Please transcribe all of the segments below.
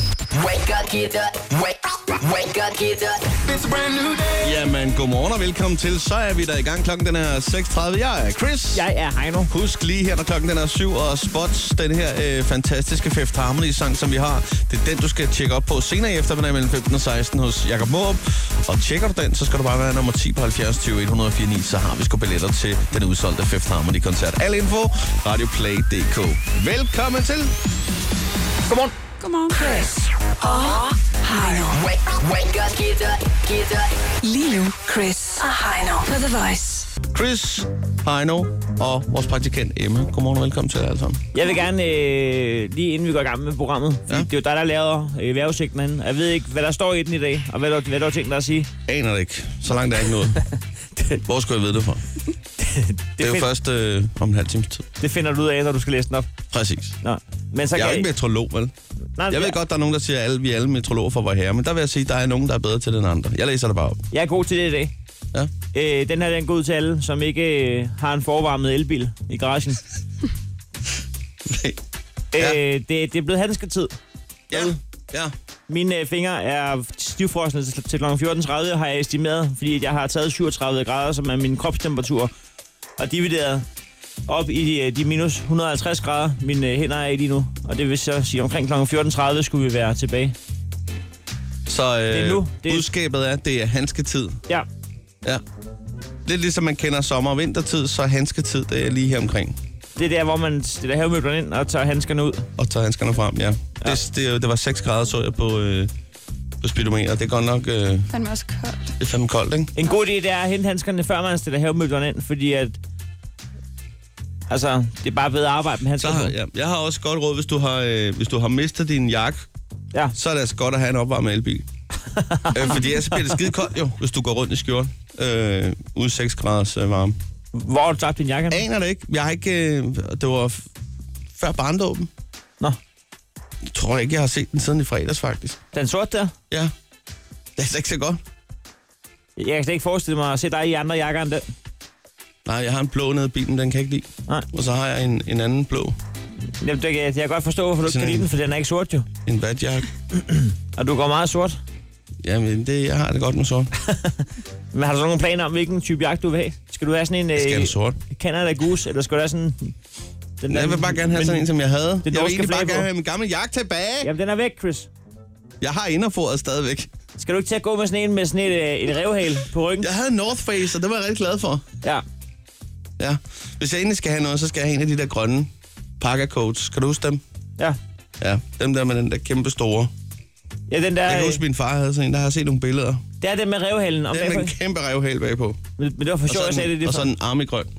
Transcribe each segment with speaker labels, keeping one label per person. Speaker 1: Wake up, get up. Wake, wake up, get up. It's a brand new day.
Speaker 2: Jamen, godmorgen og velkommen til. Så er vi da i gang. Klokken den er 6.30. Jeg er Chris.
Speaker 3: Jeg er Heino.
Speaker 2: Husk lige her, når klokken den er 7 og spots den her øh, fantastiske Fifth Harmony-sang, som vi har. Det er den, du skal tjekke op på senere i eftermiddag mellem 15 og 16 hos Jakob Måb. Og tjekker du den, så skal du bare være nummer 10 på 70 20 149, så har vi sgu billetter til den udsolgte Fifth Harmony-koncert. Al info, radioplay.dk. Velkommen til.
Speaker 3: Godmorgen.
Speaker 4: Godmorgen.
Speaker 1: Chris og Heino. Wake, wake up, get up, get up.
Speaker 4: Lige nu, Chris og Heino på The Voice.
Speaker 2: Chris, Heino og vores praktikant Emma. Godmorgen og velkommen til jer alle sammen.
Speaker 3: Jeg vil gerne, øh, lige inden vi går i gang med programmet, ja.
Speaker 2: Ja.
Speaker 3: det er jo dig, der laver øh, vejrudsigten herinde. Jeg ved ikke, hvad der står i den i dag, og hvad, du- hvad du har tænkt dig at sige. Det,
Speaker 2: Aner det ikke. Så langt er jeg ikke nået. Hvor skulle jeg vide det fra? Det er jo
Speaker 3: find,
Speaker 2: først øh, om en halv times tid.
Speaker 3: det finder du ud af, når du skal læse den op.
Speaker 2: Præcis.
Speaker 3: Nå. Men så
Speaker 2: Jeg er
Speaker 3: kan
Speaker 2: jo ikke metrolog, vel?
Speaker 3: Nej,
Speaker 2: Jeg ved godt, der er nogen, der siger, at alle, vi er alle metrologer for vor herre, men der vil jeg sige, at der er nogen, der er bedre til den andre. Jeg læser det bare op.
Speaker 3: Jeg er god til det i dag.
Speaker 2: Ja.
Speaker 3: Øh, den her den går ud til alle, som ikke øh, har en forvarmet elbil i garagen.
Speaker 2: Ja.
Speaker 3: Øh, det, det er blevet hansketid.
Speaker 2: ja. Ja.
Speaker 3: Mine øh, fingre er stivfrosne til, til kl. 14.30, har jeg estimeret, fordi jeg har taget 37 grader, som er min kropstemperatur, og divideret op i de, øh, de minus 150 grader, mine øh, hænder er i lige nu. Og det vil så sige, omkring kl. 14.30 skulle vi være tilbage.
Speaker 2: Så øh,
Speaker 3: er nu. Det
Speaker 2: det...
Speaker 3: er-
Speaker 2: budskabet er, at det er handsketid.
Speaker 3: Ja,
Speaker 2: Ja. Lidt ligesom man kender sommer- og vintertid, så er handsketid det er lige her omkring.
Speaker 3: det er der, hvor man stiller havemøblerne ind og tager handskerne ud.
Speaker 2: Og tager handskerne frem, ja. ja. Det, det, det, var 6 grader, så jeg på, øh, på speedometer. Det er godt nok øh, det
Speaker 4: Fandme også koldt.
Speaker 2: er fandme koldt, ikke?
Speaker 3: En god idé, det er at hente handskerne, før man stiller havemøblerne ind, fordi at... Altså, det er bare bedre at arbejde med
Speaker 2: Så
Speaker 3: handskerne.
Speaker 2: har, ja. Jeg har også godt råd, hvis du har, øh, hvis du har mistet din jakke,
Speaker 3: ja.
Speaker 2: så er det altså godt at have en opvarmet elbil. øh, fordi ellers bliver det skide koldt jo, hvis du går rundt i skjorten. Øh, uden 6 graders øh, varme.
Speaker 3: Hvor har du tabt din jakke?
Speaker 2: Aner det ikke. Jeg har ikke... Øh, det var f- før barndåben.
Speaker 3: Nå,
Speaker 2: Jeg tror ikke, jeg har set den siden i fredags, faktisk.
Speaker 3: den sort der.
Speaker 2: Ja. Det er altså ikke så godt.
Speaker 3: Jeg kan slet ikke forestille mig at se dig i andre jakker end den.
Speaker 2: Nej, jeg har en blå nede i bilen, den kan jeg ikke lide.
Speaker 3: Nej,
Speaker 2: Og så har jeg en, en anden blå,
Speaker 3: Jamen, det kan, jeg kan godt forstå, hvorfor du ikke kan
Speaker 2: Sådan
Speaker 3: lide
Speaker 2: en-
Speaker 3: den, for den er ikke sort jo.
Speaker 2: en vatjakke.
Speaker 3: Og du går meget sort.
Speaker 2: Jamen, det, jeg har det godt med sort.
Speaker 3: Men har du så nogle planer om, hvilken type jakke du vil have? Skal du have sådan en
Speaker 2: Jeg skal have
Speaker 3: øh,
Speaker 2: en sort.
Speaker 3: Canada Goose, eller skal du have sådan... Den
Speaker 2: Jeg vil bare gerne have
Speaker 3: men-
Speaker 2: sådan en, som jeg havde. Jeg vil
Speaker 3: norske
Speaker 2: egentlig bare
Speaker 3: flag på.
Speaker 2: gerne have min gamle jakke tilbage.
Speaker 3: Jamen, den er væk, Chris.
Speaker 2: Jeg har inderforet stadigvæk.
Speaker 3: Skal du ikke til at gå med sådan en med sådan et, øh, et revhal på ryggen?
Speaker 2: Jeg havde en North Face, og det var jeg rigtig glad for.
Speaker 3: ja.
Speaker 2: Ja. Hvis jeg egentlig skal have noget, så skal jeg have en af de der grønne parka coats. Kan du huske dem?
Speaker 3: Ja.
Speaker 2: Ja, dem der med den der kæmpe store.
Speaker 3: Ja, den der...
Speaker 2: Jeg kan
Speaker 3: øh,
Speaker 2: huske, min far havde sådan en. Der har jeg set nogle billeder.
Speaker 3: Det er den med revhalen. Om
Speaker 2: Den
Speaker 3: bagpå.
Speaker 2: med en kæmpe revhæl bagpå.
Speaker 3: Men men det var for
Speaker 2: Og
Speaker 3: sjovt, jeg sagde det
Speaker 2: sådan,
Speaker 3: lige
Speaker 2: og
Speaker 3: før.
Speaker 2: sådan en arm i grøn.
Speaker 5: Det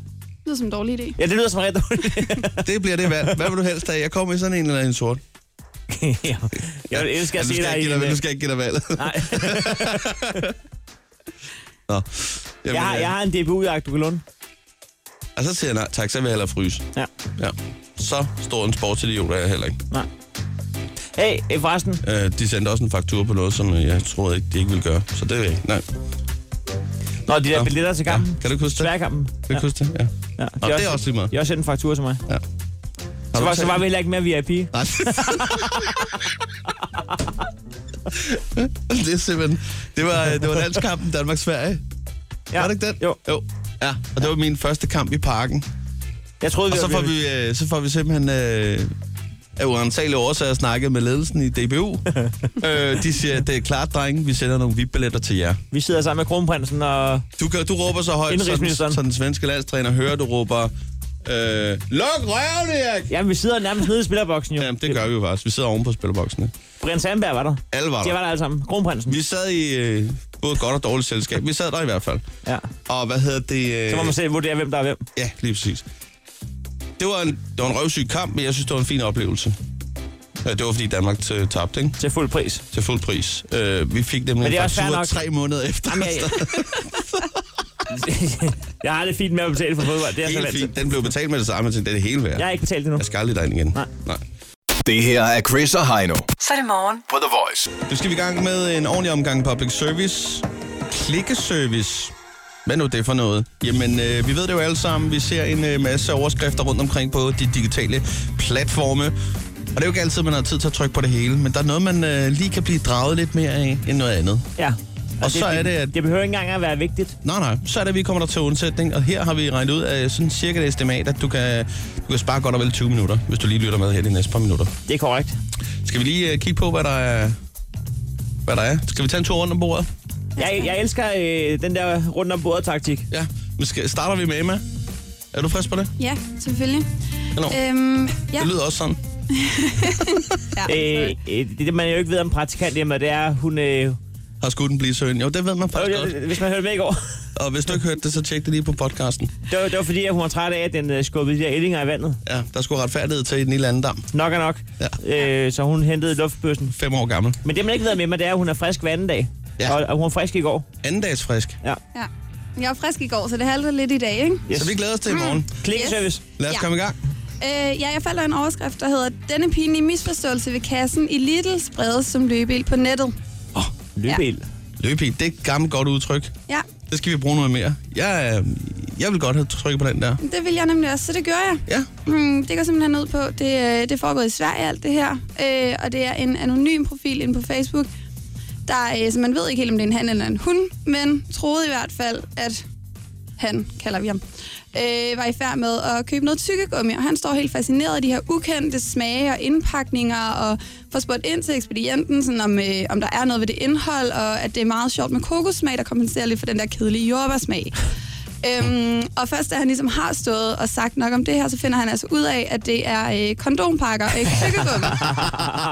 Speaker 5: lyder som en dårlig idé.
Speaker 3: Ja, det lyder som ret dårligt.
Speaker 2: Det bliver det valg. Hvad vil du helst have? Jeg kommer i sådan en eller en sort.
Speaker 3: Ja. jeg vil elske
Speaker 2: Ja,
Speaker 3: at
Speaker 2: nu
Speaker 3: se
Speaker 2: skal jeg
Speaker 3: dig
Speaker 2: ikke
Speaker 3: i
Speaker 2: give dig-
Speaker 3: en,
Speaker 2: Nu
Speaker 3: øh,
Speaker 2: skal jeg ikke give dig valget.
Speaker 3: Nej.
Speaker 2: Nå. Jamen, øh,
Speaker 3: jeg, har, jeg har en DBU-jagt, du kan låne.
Speaker 2: Og så siger jeg nej tak, så vil jeg hellere fryse.
Speaker 3: Ja.
Speaker 2: Ja. Så stor en sportsidiot er jeg heller ikke.
Speaker 3: Nej. Hey, øh, forresten.
Speaker 2: Øh, de sendte også en faktur på noget, som øh, jeg troede ikke, de ikke ville gøre. Så det er jeg ikke. Nej.
Speaker 3: Nå, de der
Speaker 2: Nå.
Speaker 3: billetter til kampen.
Speaker 2: Kan du ikke huske det?
Speaker 3: Sværkampen.
Speaker 2: Kan du ikke huske det? Ja.
Speaker 3: Ja,
Speaker 2: Nå, det er også lige meget.
Speaker 3: Jeg har sendt en faktur til mig.
Speaker 2: Ja.
Speaker 3: Så var, så var vi heller ikke mere VIP.
Speaker 2: Nej. det er simpelthen... Det var, øh, det var landskampen Danmark-Sverige. Ja. Var det ikke den?
Speaker 3: Jo.
Speaker 2: jo. Ja, og det var min første kamp i parken.
Speaker 3: Jeg troede,
Speaker 2: Og
Speaker 3: vi
Speaker 2: så
Speaker 3: var
Speaker 2: får vi, øh, så får vi simpelthen... Øh, af uansagelige årsager snakket med ledelsen i DBU. øh, de siger, det er klart, drenge, vi sender nogle VIP-billetter til jer.
Speaker 3: Vi sidder sammen med kronprinsen og...
Speaker 2: Du, kan, du råber så højt, så,
Speaker 3: Indenrigsministeren.
Speaker 2: så den svenske landstræner hører, du råber, øh, luk røven, Erik!
Speaker 3: Jamen, vi sidder nærmest nede i spillerboksen jo.
Speaker 2: Jamen, det gør vi jo faktisk. Vi sidder oven på spillerboksene.
Speaker 3: Brian Sandberg var der.
Speaker 2: Alle var
Speaker 3: De
Speaker 2: der.
Speaker 3: var der alle sammen. Kronprinsen.
Speaker 2: Vi sad i øh, både godt og dårligt selskab. Vi sad der i hvert fald.
Speaker 3: Ja.
Speaker 2: Og hvad hedder det? Øh,
Speaker 3: Så må man selv vurdere, hvem der er hvem.
Speaker 2: Ja, lige præcis. Det var, en, det var en røvsyg kamp, men jeg synes, det var en fin oplevelse. Øh, Det var, fordi Danmark t- tabte, ikke?
Speaker 3: Til fuld pris.
Speaker 2: Til fuld pris. Øh, vi fik nemlig
Speaker 3: Men det er
Speaker 2: en
Speaker 3: også fair
Speaker 2: faktura
Speaker 3: nok.
Speaker 2: tre måneder efter.
Speaker 3: Jamen, jeg, jeg har det fint med at betale for fodbold. Det er jeg så
Speaker 2: Helt
Speaker 3: vant
Speaker 2: fint.
Speaker 3: til.
Speaker 2: Den blev betalt med det samme, til det er det hele værd.
Speaker 3: Jeg har ikke betalt det nu.
Speaker 2: Jeg skal aldrig dig igen.
Speaker 3: Nej.
Speaker 2: Nej.
Speaker 6: Det her er Chris og Heino
Speaker 4: Så er det morgen.
Speaker 6: på The Voice.
Speaker 2: Nu skal vi i gang med en ordentlig omgang public service. Klikkeservice. Hvad nu er det for noget? Jamen, øh, vi ved det jo alle sammen. Vi ser en øh, masse overskrifter rundt omkring på de digitale platforme. det er jo ikke altid, man har tid til at trykke på det hele, men der er noget, man øh, lige kan blive draget lidt mere af, end noget andet.
Speaker 3: Ja.
Speaker 2: Og så er det, at-
Speaker 3: Det behøver ikke engang at være vigtigt.
Speaker 2: Nej, nej. Så er det, at vi kommer der til undsætning, og her har vi regnet ud af sådan cirka et estimat, at du kan, du kan spare godt og vel 20 minutter, hvis du lige lytter med her de næste par minutter.
Speaker 3: Det er korrekt.
Speaker 2: Skal vi lige øh, kigge på, hvad der er? Hvad der er? Skal vi tage en tur rundt om bordet?
Speaker 3: Jeg, jeg elsker øh, den der rundt om bordet taktik.
Speaker 2: Ja. Men skal, starter vi med Emma? Er du frisk på det?
Speaker 5: Ja, selvfølgelig.
Speaker 2: Eller?
Speaker 5: Øhm, ja,
Speaker 2: Det lyder også sådan.
Speaker 5: ja.
Speaker 3: Øh, øh, det, man jo ikke ved om praktikant, Emma, det er, hun... Øh,
Speaker 2: Har skulle den blive søen? Jo, det ved man faktisk godt.
Speaker 3: øh, hvis man hørte med i går.
Speaker 2: Og hvis du ikke hørte det, så tjek det lige på podcasten.
Speaker 3: Det var, det var fordi, at hun var træt af, at den øh, skubbede de der ællinger i vandet.
Speaker 2: Ja, der skulle retfærdighed til i den lille anden dam.
Speaker 3: Nok er nok.
Speaker 2: Ja.
Speaker 3: Øh, så hun hentede luftbøssen.
Speaker 2: Fem år gammel.
Speaker 3: Men det, man ikke ved med mig, det er, at hun er frisk hver anden dag.
Speaker 2: Ja.
Speaker 3: Og, og hun var frisk i går.
Speaker 2: Andendags frisk.
Speaker 5: ja. Jeg var frisk i går, så det halter lidt i dag, ikke?
Speaker 2: Yes. Så vi glæder os til i morgen.
Speaker 3: Klikservice.
Speaker 2: Lad os
Speaker 5: Mm. Ja.
Speaker 2: komme i gang.
Speaker 5: Øh, ja, jeg falder en overskrift, der hedder Denne pinlige misforståelse ved kassen i Lidl spredes som løbeild på nettet.
Speaker 3: Løbeild.
Speaker 2: Løb i. Det er et gammelt godt udtryk.
Speaker 5: Ja,
Speaker 2: Det skal vi bruge noget mere. Jeg, øh, jeg vil godt have trykket på den der.
Speaker 5: det vil jeg nemlig også, så det gjorde jeg.
Speaker 2: Ja.
Speaker 5: Mm, det går simpelthen ud på, det, øh, det er foregået i Sverige alt det her, øh, og det er en anonym profil inde på Facebook, der, øh, så man ved ikke helt, om det er en han eller en hun, men troede i hvert fald, at han, kalder vi ham, øh, var i færd med at købe noget tykkegummi, og han står helt fascineret af de her ukendte smage og indpakninger, og får spurgt ind til ekspedienten, sådan om, øh, om der er noget ved det indhold, og at det er meget sjovt med kokossmag, der kompenserer lidt for den der kedelige jordbærsmag. Øhm, og først da han ligesom har stået og sagt nok om det her, så finder han altså ud af, at det er øh, kondompakker og ikke tykkegummi.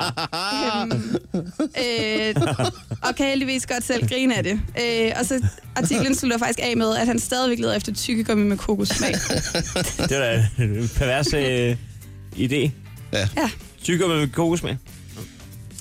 Speaker 5: øhm, øh, og kan heldigvis godt selv grine af det. Øh, og så artiklen slutter faktisk af med, at han stadigvæk leder efter tykkegummi med kokosmag.
Speaker 3: Det er da en pervers øh, idé.
Speaker 2: Ja.
Speaker 5: Ja.
Speaker 3: Tykker med kokosmag.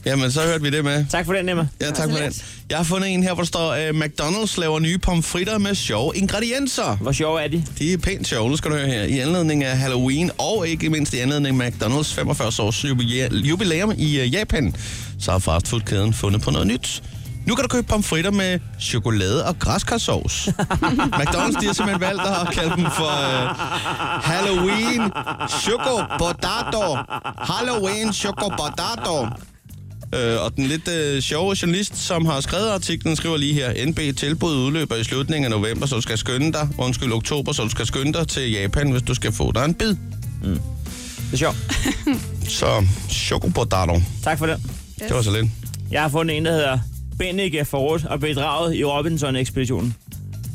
Speaker 2: Jamen, så hørte vi det med.
Speaker 3: Tak for den, Emma.
Speaker 2: Ja, tak
Speaker 5: så
Speaker 2: for den.
Speaker 5: let.
Speaker 2: Jeg har fundet en her, hvor der står, øh, McDonald's laver nye pomfritter med sjove ingredienser.
Speaker 3: Hvor sjov er de?
Speaker 2: De er pænt sjove, nu skal du høre her. I anledning af Halloween, og ikke mindst i anledning af McDonald's 45 års jubilea- jubilæum i øh, Japan, så har fastfoodkæden fundet på noget nyt. Nu kan du købe pomfritter med chokolade og græskarsovs. McDonald's de har simpelthen valgt at kalde dem for øh, Halloween Choco Potato. Halloween Choco Potato. Øh, og den lidt øh, sjove journalist, som har skrevet artiklen, skriver lige her, NB tilbud udløber i slutningen af november, så du skal skynde dig. Undskyld, oktober, så du skal skynde dig til Japan, hvis du skal få dig en bid.
Speaker 3: Det er sjovt.
Speaker 2: Så chokopotato.
Speaker 3: Tak for den.
Speaker 2: Det var så lidt.
Speaker 3: Jeg har fundet en, der hedder Bennike forrådt og bedraget i Robinson-ekspeditionen.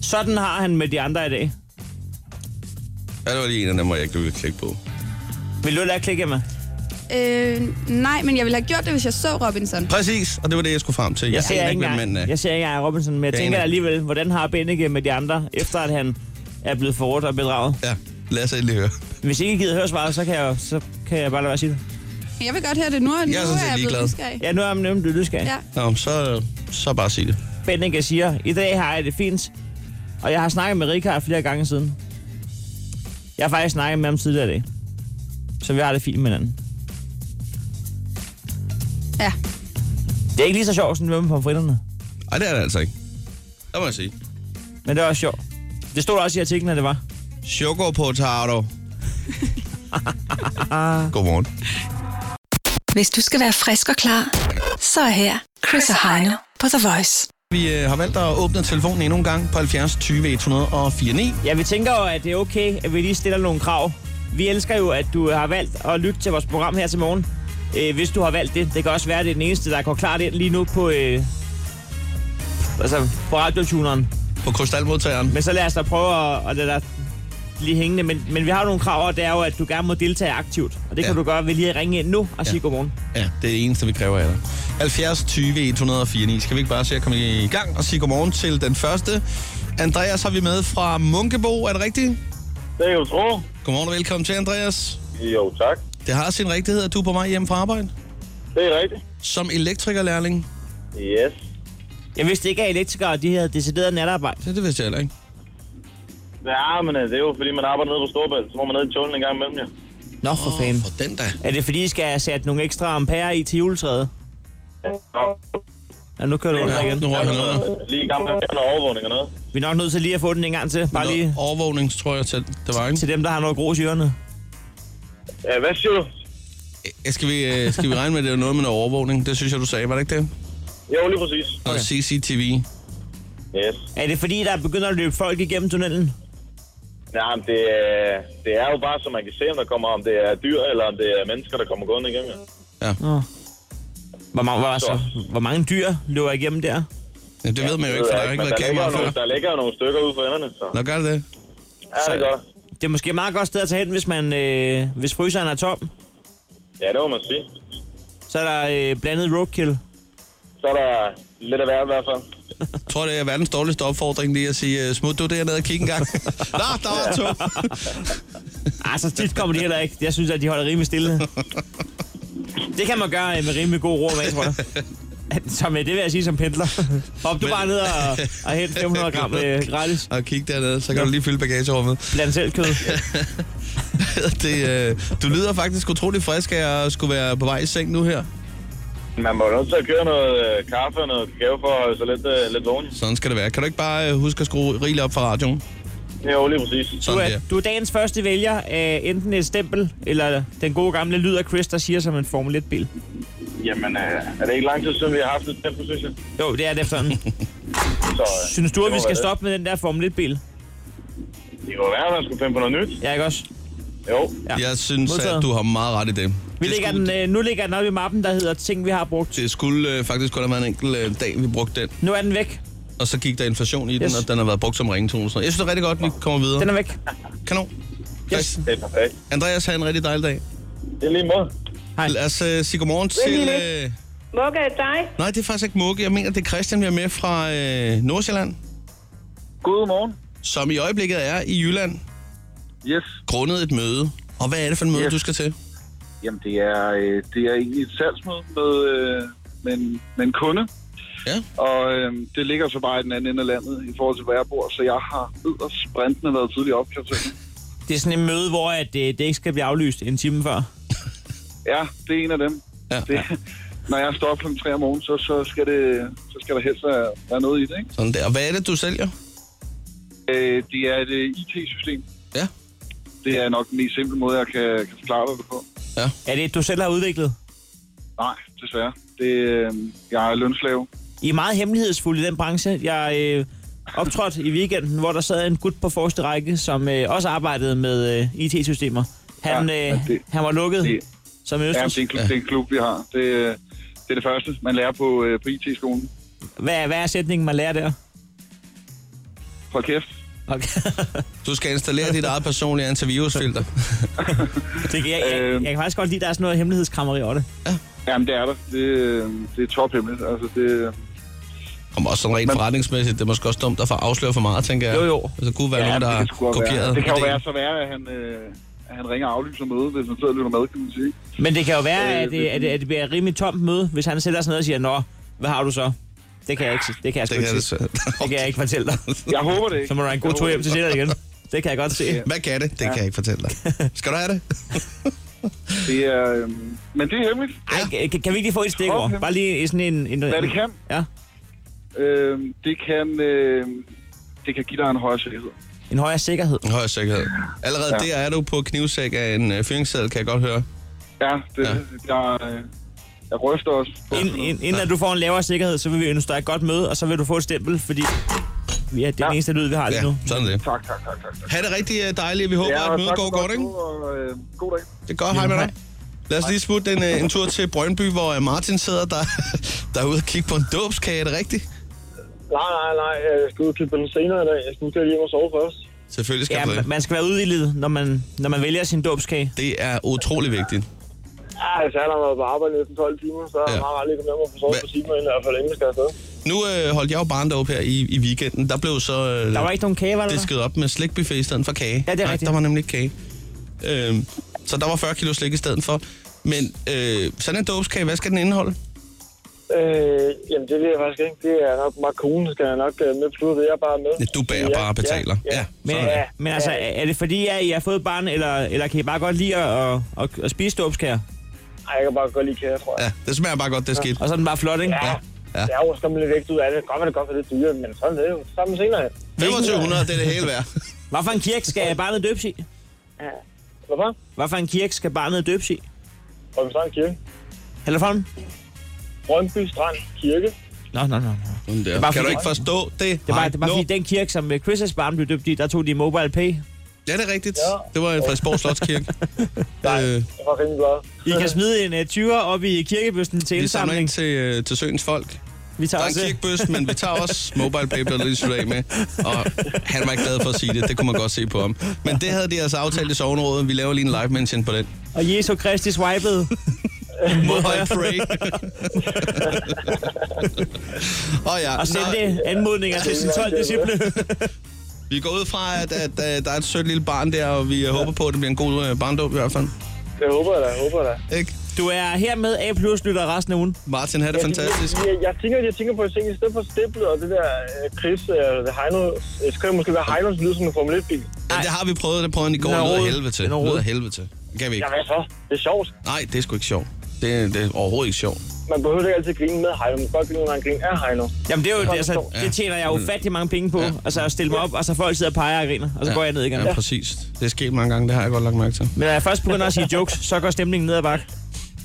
Speaker 3: Sådan har han med de andre i dag.
Speaker 2: Ja, det var lige en af dem, hvor jeg ikke ville klikke på.
Speaker 3: Vil du lade klikke, Emma?
Speaker 5: øh, nej, men jeg ville have gjort det, hvis jeg så Robinson.
Speaker 2: Præcis, og det var det, jeg skulle frem til. Jeg, aner
Speaker 3: ikke
Speaker 2: hvem manden er.
Speaker 3: engang, jeg ser ikke engang Robinson, men jeg,
Speaker 2: Jeg
Speaker 3: tænker
Speaker 2: aner-
Speaker 3: alligevel, hvordan har Bennike med de andre, efter at han er blevet forrådt og bedraget?
Speaker 2: Ja, lad os endelig høre.
Speaker 3: Hvis I ikke gider høre svaret, så kan jeg, så kan jeg bare lade være at sige det.
Speaker 5: Jeg vil godt høre det nu, og nu
Speaker 2: Jeg er sådan set
Speaker 5: er jeg
Speaker 2: ligeglad.
Speaker 5: blevet nysgerrig.
Speaker 3: Ja, nu er man nemlig blevet nysgerrig.
Speaker 5: Ja.
Speaker 2: Nå, så, så bare sig det.
Speaker 3: Bennike siger, i dag har jeg det fint, og jeg har snakket med Rikard flere gange siden. Jeg har faktisk snakket med ham tidligere i dag. Så vi har det fint med hinanden.
Speaker 5: ja.
Speaker 3: Det er ikke lige så sjovt, som det var med pomfritterne.
Speaker 2: Ej, det er det altså ikke. Det må jeg sige.
Speaker 3: Men det er også sjovt. Det stod der også i artiklen, at det var.
Speaker 2: Chokopotato. Godmorgen.
Speaker 4: Hvis du skal være frisk og klar, så er her Chris og Heino på The Voice.
Speaker 2: Vi øh, har valgt at åbne telefonen endnu en gang på 70 20 104 9.
Speaker 3: Ja, vi tænker jo, at det er okay, at vi lige stiller nogle krav. Vi elsker jo, at du har valgt at lytte til vores program her til morgen. Øh, hvis du har valgt det. Det kan også være, at det er den eneste, der går klart ind lige nu på... Øh, altså, på radiotuneren.
Speaker 2: På krystalmodtageren.
Speaker 3: Men så lad os da prøve at, at lade dig blive hængende. Men, men vi har jo nogle krav, og det er jo, at du gerne må deltage aktivt. Og det kan
Speaker 2: Ja.
Speaker 3: du gøre ved lige at ringe ind nu og sige
Speaker 2: Ja.
Speaker 3: godmorgen.
Speaker 2: Ja, det er det eneste, vi kræver af dig. 70 20 104 9. Skal vi ikke bare se at komme i gang og sige godmorgen til den første? Andreas har vi med fra Munkebo, er det rigtigt?
Speaker 7: Det er jo tro.
Speaker 2: Godmorgen og velkommen til, Andreas.
Speaker 7: Jo, tak.
Speaker 2: Det har sin rigtighed, at du er på vej hjem fra arbejde.
Speaker 7: Det er rigtigt.
Speaker 2: Som elektrikerlærling.
Speaker 7: Yes.
Speaker 3: Jeg vidste ikke, at elektrikere de havde decideret natarbejde.
Speaker 2: Det, det vidste jeg heller ikke.
Speaker 7: Ja, men
Speaker 8: øh,
Speaker 7: altså, det er jo fordi, man arbejder nede på Storbælt, så må man ned i tålen en gang imellem, ja.
Speaker 3: Nå, for oh, fanden.
Speaker 2: For den da.
Speaker 3: Er det fordi, I skal have sat nogle ekstra ampere i til juletræet? Ja, nu kører du rundt her
Speaker 2: Ja,
Speaker 3: igen.
Speaker 2: nu røg han under.
Speaker 7: Lige i gang med at noget overvågning og noget.
Speaker 3: Vi er nok nødt til lige at få den en gang til. Bare lige
Speaker 2: Noget Overvågning, tror jeg, til det var, ikke?
Speaker 3: til dem, der har noget grus i ørerne.
Speaker 7: Ja, hvad siger du?
Speaker 2: Øh, Skal vi, øh, skal vi regne med, at det er noget med noget overvågning? Det synes jeg, du sagde, var det ikke det?
Speaker 8: Jo, lige præcis.
Speaker 2: Og CCTV.
Speaker 8: Yes.
Speaker 3: Er det fordi, der begynder at løbe folk igennem tunnelen?
Speaker 8: Ja, men det, er- det er jo bare, så man kan se, om der kommer, om det er dyr, eller om det er mennesker, der kommer gående igennem. ja.
Speaker 3: Hvor, mange, hvor, altså, hvor mange dyr løber igennem der?
Speaker 2: Ja, det ved man jo
Speaker 8: Det
Speaker 2: ikke,
Speaker 8: ved
Speaker 2: for
Speaker 8: jeg
Speaker 2: der har ikke
Speaker 8: men
Speaker 2: været
Speaker 8: der ligger,
Speaker 2: kamera
Speaker 8: jo
Speaker 2: før.
Speaker 8: nogle, der ligger jo nogle stykker ude for enderne, så
Speaker 2: Nå, gør det det?
Speaker 8: ja, det gør der.
Speaker 3: Det er måske et meget godt sted at tage hen, hvis, man, øh, hvis fryseren er tom.
Speaker 8: Ja, det må man sige.
Speaker 3: Så er der øh, blandet roadkill.
Speaker 8: Så er der lidt af hvert i hvert fald.
Speaker 2: Jeg tror, det er verdens dårligste opfordring lige at sige, øh, smut du dernede og kig en gang. Nå, der var to.
Speaker 3: Ah, så tit kommer de heller ikke. Jeg synes, at de holder rimelig stille. Det kan man gøre øh, med rimelig god ro, tror jeg. Som, øh, det vil jeg sige som pendler. Hop du bare ned og, og hent 500 gram øh, gratis.
Speaker 2: Og kig dernede, så kan du lige fylde bagagerummet.
Speaker 3: Blandt selv kød.
Speaker 2: Det, øh, du lyder faktisk utrolig frisk af at skulle være på vej i seng nu her.
Speaker 8: Man må jo nødt til at køre noget øh, kaffe og noget kakao for at holde sig lidt, øh, lidt vågen.
Speaker 2: Sådan skal det være. Kan du ikke bare øh, huske at skrue rigeligt op for radioen?
Speaker 8: Jo, lige præcis.
Speaker 3: Du
Speaker 2: Sådan
Speaker 3: er,
Speaker 2: der.
Speaker 3: du er dagens første vælger af enten et stempel, eller den gode gamle lyd af Chris, der siger som en Formel 1-bil.
Speaker 8: Jamen, øh, er det ikke lang tid siden, vi har haft et tempo, synes jeg?
Speaker 3: Jo, det er det efterhånden.
Speaker 8: Så, øh,
Speaker 3: Synes du,
Speaker 8: det
Speaker 3: at vi
Speaker 8: må være
Speaker 3: skal
Speaker 8: det.
Speaker 3: stoppe med den der Formel 1-bil?
Speaker 8: Det kunne være, at man skulle finde på noget nyt.
Speaker 3: Ja, ikke også?
Speaker 8: Jo,
Speaker 3: Ja.
Speaker 2: Jeg synes,
Speaker 3: Modtaget.
Speaker 2: at du har meget ret i det.
Speaker 3: Vi
Speaker 2: det,
Speaker 3: lægger
Speaker 2: skulle,
Speaker 3: den, øh, nu ligger den oppe i mappen, der hedder ting, vi har brugt.
Speaker 2: det skulle øh, faktisk kun have været en enkelt øh, dag, vi brugte den.
Speaker 3: Nu er den væk.
Speaker 2: Og så gik der inflation i den,
Speaker 3: Yes.
Speaker 2: og den har været brugt som ringetone. og sådan noget. Jeg synes, det er rigtig godt, vi kommer videre.
Speaker 3: Den er væk.
Speaker 2: Kanon. Yes.
Speaker 8: det er perfekt.
Speaker 2: Andreas, have en rigtig dejlig dag.
Speaker 8: Det er lige måde.
Speaker 3: Hej.
Speaker 2: Lad os øh, sige godmorgen til... Øh,
Speaker 9: Mugge er dig.
Speaker 2: nej, det er faktisk ikke Mugge. Jeg mener, det er Christian, vi er med fra øh, Nordsjælland,
Speaker 8: Godmorgen.
Speaker 2: som i øjeblikket er i Jylland,
Speaker 10: Yes,
Speaker 2: grundet et møde. Og hvad er det for en møde,
Speaker 10: Yes.
Speaker 2: du skal til?
Speaker 10: jamen det er, øh, det er egentlig et salgsmøde med, øh, med, en, med en kunde.
Speaker 2: Ja.
Speaker 10: Og øh, det ligger så bare i den anden ende af landet i forhold til, hvor jeg bor, så jeg har yderst sprintende været tidlig op, kan jeg se.
Speaker 3: Det er sådan et møde, hvor at, øh, det ikke skal blive aflyst en time før.
Speaker 10: Ja, det er en af dem.
Speaker 2: Ja.
Speaker 10: Det, når jeg står op kl. 3 om morgenen, så, så, skal det, så skal der helst være være noget i det. Ikke?
Speaker 2: Sådan der. Og hvad er det, du sælger?
Speaker 10: Øh, det er et øh, IT-system.
Speaker 2: Ja.
Speaker 10: Det er nok den mest simple måde, jeg kan, kan forklare dig det på.
Speaker 3: Er det et, du selv har udviklet?
Speaker 10: Nej, desværre. Det, øh, jeg er lønslave.
Speaker 3: I er meget hemmelighedsfulde i den branche. Jeg øh, optrådte i weekenden, hvor der sad en gut på forreste række, som øh, også arbejdede med øh, IT-systemer. Han,
Speaker 10: Ja,
Speaker 3: øh,
Speaker 10: men det-
Speaker 3: han var lukket
Speaker 10: det-
Speaker 3: som
Speaker 10: Ja,
Speaker 3: østers.
Speaker 10: det er en klub, det er en klub vi har. Det, øh, det er det første, man lærer på, øh, på IT-skolen.
Speaker 3: Hvad, hvad er sætningen, man lærer der?
Speaker 10: Hold kæft.
Speaker 3: Okay.
Speaker 2: Du skal installere dit eget personlige antivirusfilter.
Speaker 3: det, kan- jeg, jeg, jeg kan faktisk godt lide, at der er sådan noget hemmelighedskrammeri over det.
Speaker 10: Jamen, det er der. Det, øh, det er tophemmeligt. Altså, det,
Speaker 2: Om også sådan rent forretningsmæssigt. Det er måske også dumt at få afsløre for meget, tænker jeg.
Speaker 3: Jo, jo.
Speaker 2: Altså, kunne være ja, nogen, der
Speaker 10: det
Speaker 2: har
Speaker 10: kan sgu godt være.
Speaker 2: kopieret.
Speaker 10: Det kan jo
Speaker 2: idéen.
Speaker 10: være så være, at han, øh, at han ringer og aflyser møde, hvis han sidder og lytter med, kan man sige.
Speaker 3: Men det kan jo være,
Speaker 10: Øh,
Speaker 3: at det,
Speaker 10: hvis-
Speaker 3: at det, at det bliver et rimelig tomt møde, hvis han sætter sig ned og siger, Nå, hvad har du så? Det kan jeg ikke, det kan jeg sgu
Speaker 2: Det
Speaker 3: ikke,
Speaker 2: kan det.
Speaker 3: sige. det kan jeg ikke fortælle dig.
Speaker 10: Jeg håber det ikke.
Speaker 3: Så må du have en god
Speaker 10: Jeg
Speaker 3: tur
Speaker 10: håber
Speaker 3: hjem
Speaker 10: det
Speaker 3: til Sjælland igen. Det kan jeg godt se.
Speaker 10: Ja.
Speaker 2: Hvad kan det? Det kan jeg ikke fortælle dig. Skal du have det?
Speaker 10: ikke. Det er, øh, men det er hemmeligt.
Speaker 3: Ej, kan, kan vi ikke lige få et stikord?
Speaker 10: Okay.
Speaker 3: Bare lige sådan en... en
Speaker 10: Hvad det kan,
Speaker 3: Ja,
Speaker 10: øh, det kan, øh, det kan give dig en højere sikkerhed.
Speaker 3: en højere sikkerhed.
Speaker 2: En Høj sikkerhed. Allerede ja.
Speaker 10: Ja.
Speaker 2: der er du på knivsæk af en øh, fyringsseddel, kan jeg godt høre.
Speaker 10: Ja, det,
Speaker 2: Ja.
Speaker 10: ja. Jeg, øh, jeg ryster også. på
Speaker 3: Ind,
Speaker 10: sådan noget.
Speaker 3: ind, inden at du får en lavere sikkerhed, så vil vi ønske dig et godt møde, og så vil du få et stempel, fordi ja, det er den eneste lyd, vi har lige
Speaker 2: Ja,
Speaker 3: nu.
Speaker 2: sådan er det.
Speaker 10: Tak, tak, tak, tak. tak.
Speaker 2: Ha' det rigtig øh, dejligt. Vi håber,
Speaker 10: Ja,
Speaker 2: ja,
Speaker 10: og
Speaker 2: at mødet
Speaker 10: tak for
Speaker 2: går
Speaker 10: godt
Speaker 2: godt, ikke?
Speaker 10: møde, og, øh, God dag.
Speaker 2: Det går. Hej med
Speaker 3: hej.
Speaker 2: dig. Lad os lige smutte en, øh, en tur til Brøndby, hvor øh, Martin sidder der, der er ude og kigge på en dåbskage. Er det rigtigt?
Speaker 8: Nej, nej, nej. Jeg skal ud til den senere i dag. Jeg skal nu lige hjem og sove først.
Speaker 2: Selvfølgelig skal
Speaker 3: Ja,
Speaker 2: du det.
Speaker 3: ma- man skal være udvildet, når man, når man vælger sin dåbskage.
Speaker 2: Det er utrolig vigtigt.
Speaker 8: Ja, altså, jeg har været på arbejde næsten 12 timer, så er
Speaker 2: Ja.
Speaker 8: jeg meget rart lige at komme hjem og få sovet
Speaker 2: Hva-
Speaker 8: på timer, inden jeg i hvert fald endelig skal afsted.
Speaker 2: Nu øh, holdt jeg jo barn deroppe her i, i weekenden. Der blev så øh,
Speaker 3: Der var ikke nogen kage, var der?
Speaker 2: disket op med slikbuffet i stedet for kage.
Speaker 3: Ja, det er
Speaker 2: Nej,
Speaker 3: rigtigt.
Speaker 2: der var nemlig ikke kage. Øhm, så der var 40 kilo slik i stedet for. Men øh, sådan en dåbskage, hvad skal den indeholde?
Speaker 8: Øh, jamen, det ved jeg faktisk ikke. Det er nok meget konen, skal jeg nok øh, med beslutte. Jeg er bare med.
Speaker 2: Ja, Du bærer
Speaker 8: Ja,
Speaker 2: bare og betaler.
Speaker 8: Ja, ja.
Speaker 3: Men,
Speaker 2: sådan er det.
Speaker 3: men altså, er det fordi, at I har fået et barn, eller, eller kan I bare godt lide at, at, at, at spise dåbskager?
Speaker 8: Ej, jeg kan bare godt lide kære, tror jeg.
Speaker 2: Ja, det smager bare godt, det er skidt.
Speaker 3: Og så er den bare flot, ikke?
Speaker 8: Ja.
Speaker 2: Ja.
Speaker 8: ja. Jeg er jo skammet lidt vægt ud af det. Godt, at det godt for lidt dyre, men sådan er det jo. Sammen senere.
Speaker 2: 2500, det er det hele værd.
Speaker 3: Hvad for en kirke skal barnet døbes i?
Speaker 8: Hvorfor?
Speaker 3: Hvad for en kirke skal barnet døbes i?
Speaker 7: Rødby Strand Kirke.
Speaker 3: Hellerholm?
Speaker 7: Rødby Strand Kirke.
Speaker 3: Nå, nå, nå.
Speaker 2: Sådan der.
Speaker 3: er bare
Speaker 2: Kan du
Speaker 3: fordi-
Speaker 2: ikke forstå det?
Speaker 3: Det var,
Speaker 2: Nej,
Speaker 3: det var
Speaker 2: nå.
Speaker 3: fordi den kirke, som øh, Chris' barn blev døbt i, der tog de mobile pay.
Speaker 2: Ja, det er rigtigt.
Speaker 7: Ja.
Speaker 2: Det var en Frederiksborg Slotskirke. øh,
Speaker 7: Jeg var rimelig glad.
Speaker 3: I kan smide en uh, 20'er op i kirkebøsten til
Speaker 2: vi samler
Speaker 3: indsamling.
Speaker 2: ind til, øh, til søens folk.
Speaker 3: Vi tager
Speaker 2: Der er en
Speaker 3: også... øh,
Speaker 2: kirkebøs, men vi tager også mobile pay, bliver der lige sluttet af med. Og han var ikke glad for at sige det, det kunne man godt se på ham. Men det havde de altså aftalt i sovnerådet. Vi laver lige en live mention på den.
Speaker 3: Og Jesu Kristi swipede.
Speaker 2: Mobile pray. og ja,
Speaker 3: og sendte anmodninger til sine 12 disciple.
Speaker 2: vi går ud fra, at, at, at der er et sødt lille barn der, og vi øh, håber på, at det bliver en god øh, barndom i hvert fald.
Speaker 7: Det håber jeg da, jeg håber jeg da.
Speaker 2: Ikke?
Speaker 3: Du er hermed A+, lytter resten af ugen.
Speaker 2: Martin, havde det fantastisk.
Speaker 7: Jeg, jeg, jeg, tænker, jeg tænker på en ting. I stedet for stemplet og det der øh, Chris, øh, Heino, øh, så kan det måske være Heinos lyd som en Formel 1-bil.
Speaker 2: Ja, det har vi prøvet, det prøvede han i går.
Speaker 3: Den er
Speaker 2: Det lyder
Speaker 3: rodet.
Speaker 2: helvede til.
Speaker 3: Den er
Speaker 2: Det lyder
Speaker 3: rodet.
Speaker 2: helvede til. Det kan vi ikke.
Speaker 7: Ja, hvad så? Det er sjovt.
Speaker 2: Nej, det er sgu ikke sjovt. Det, det er overhovedet ikke sjovt.
Speaker 7: Man behøver ikke altid grine med Heino, men godt grine, når man griner af Heino.
Speaker 3: Jamen det, er jo, altså,
Speaker 2: Ja.
Speaker 3: det tjener jeg ufattelig mange penge på. Altså at stille mig op, og så folk sidder og peger og griner, og så går jeg ned igen.
Speaker 2: Ja, præcis. Det er sket mange gange, det har jeg godt lagt mærke til.
Speaker 3: Men når jeg først begynder at sige jokes, så går stemningen ned ad bakke.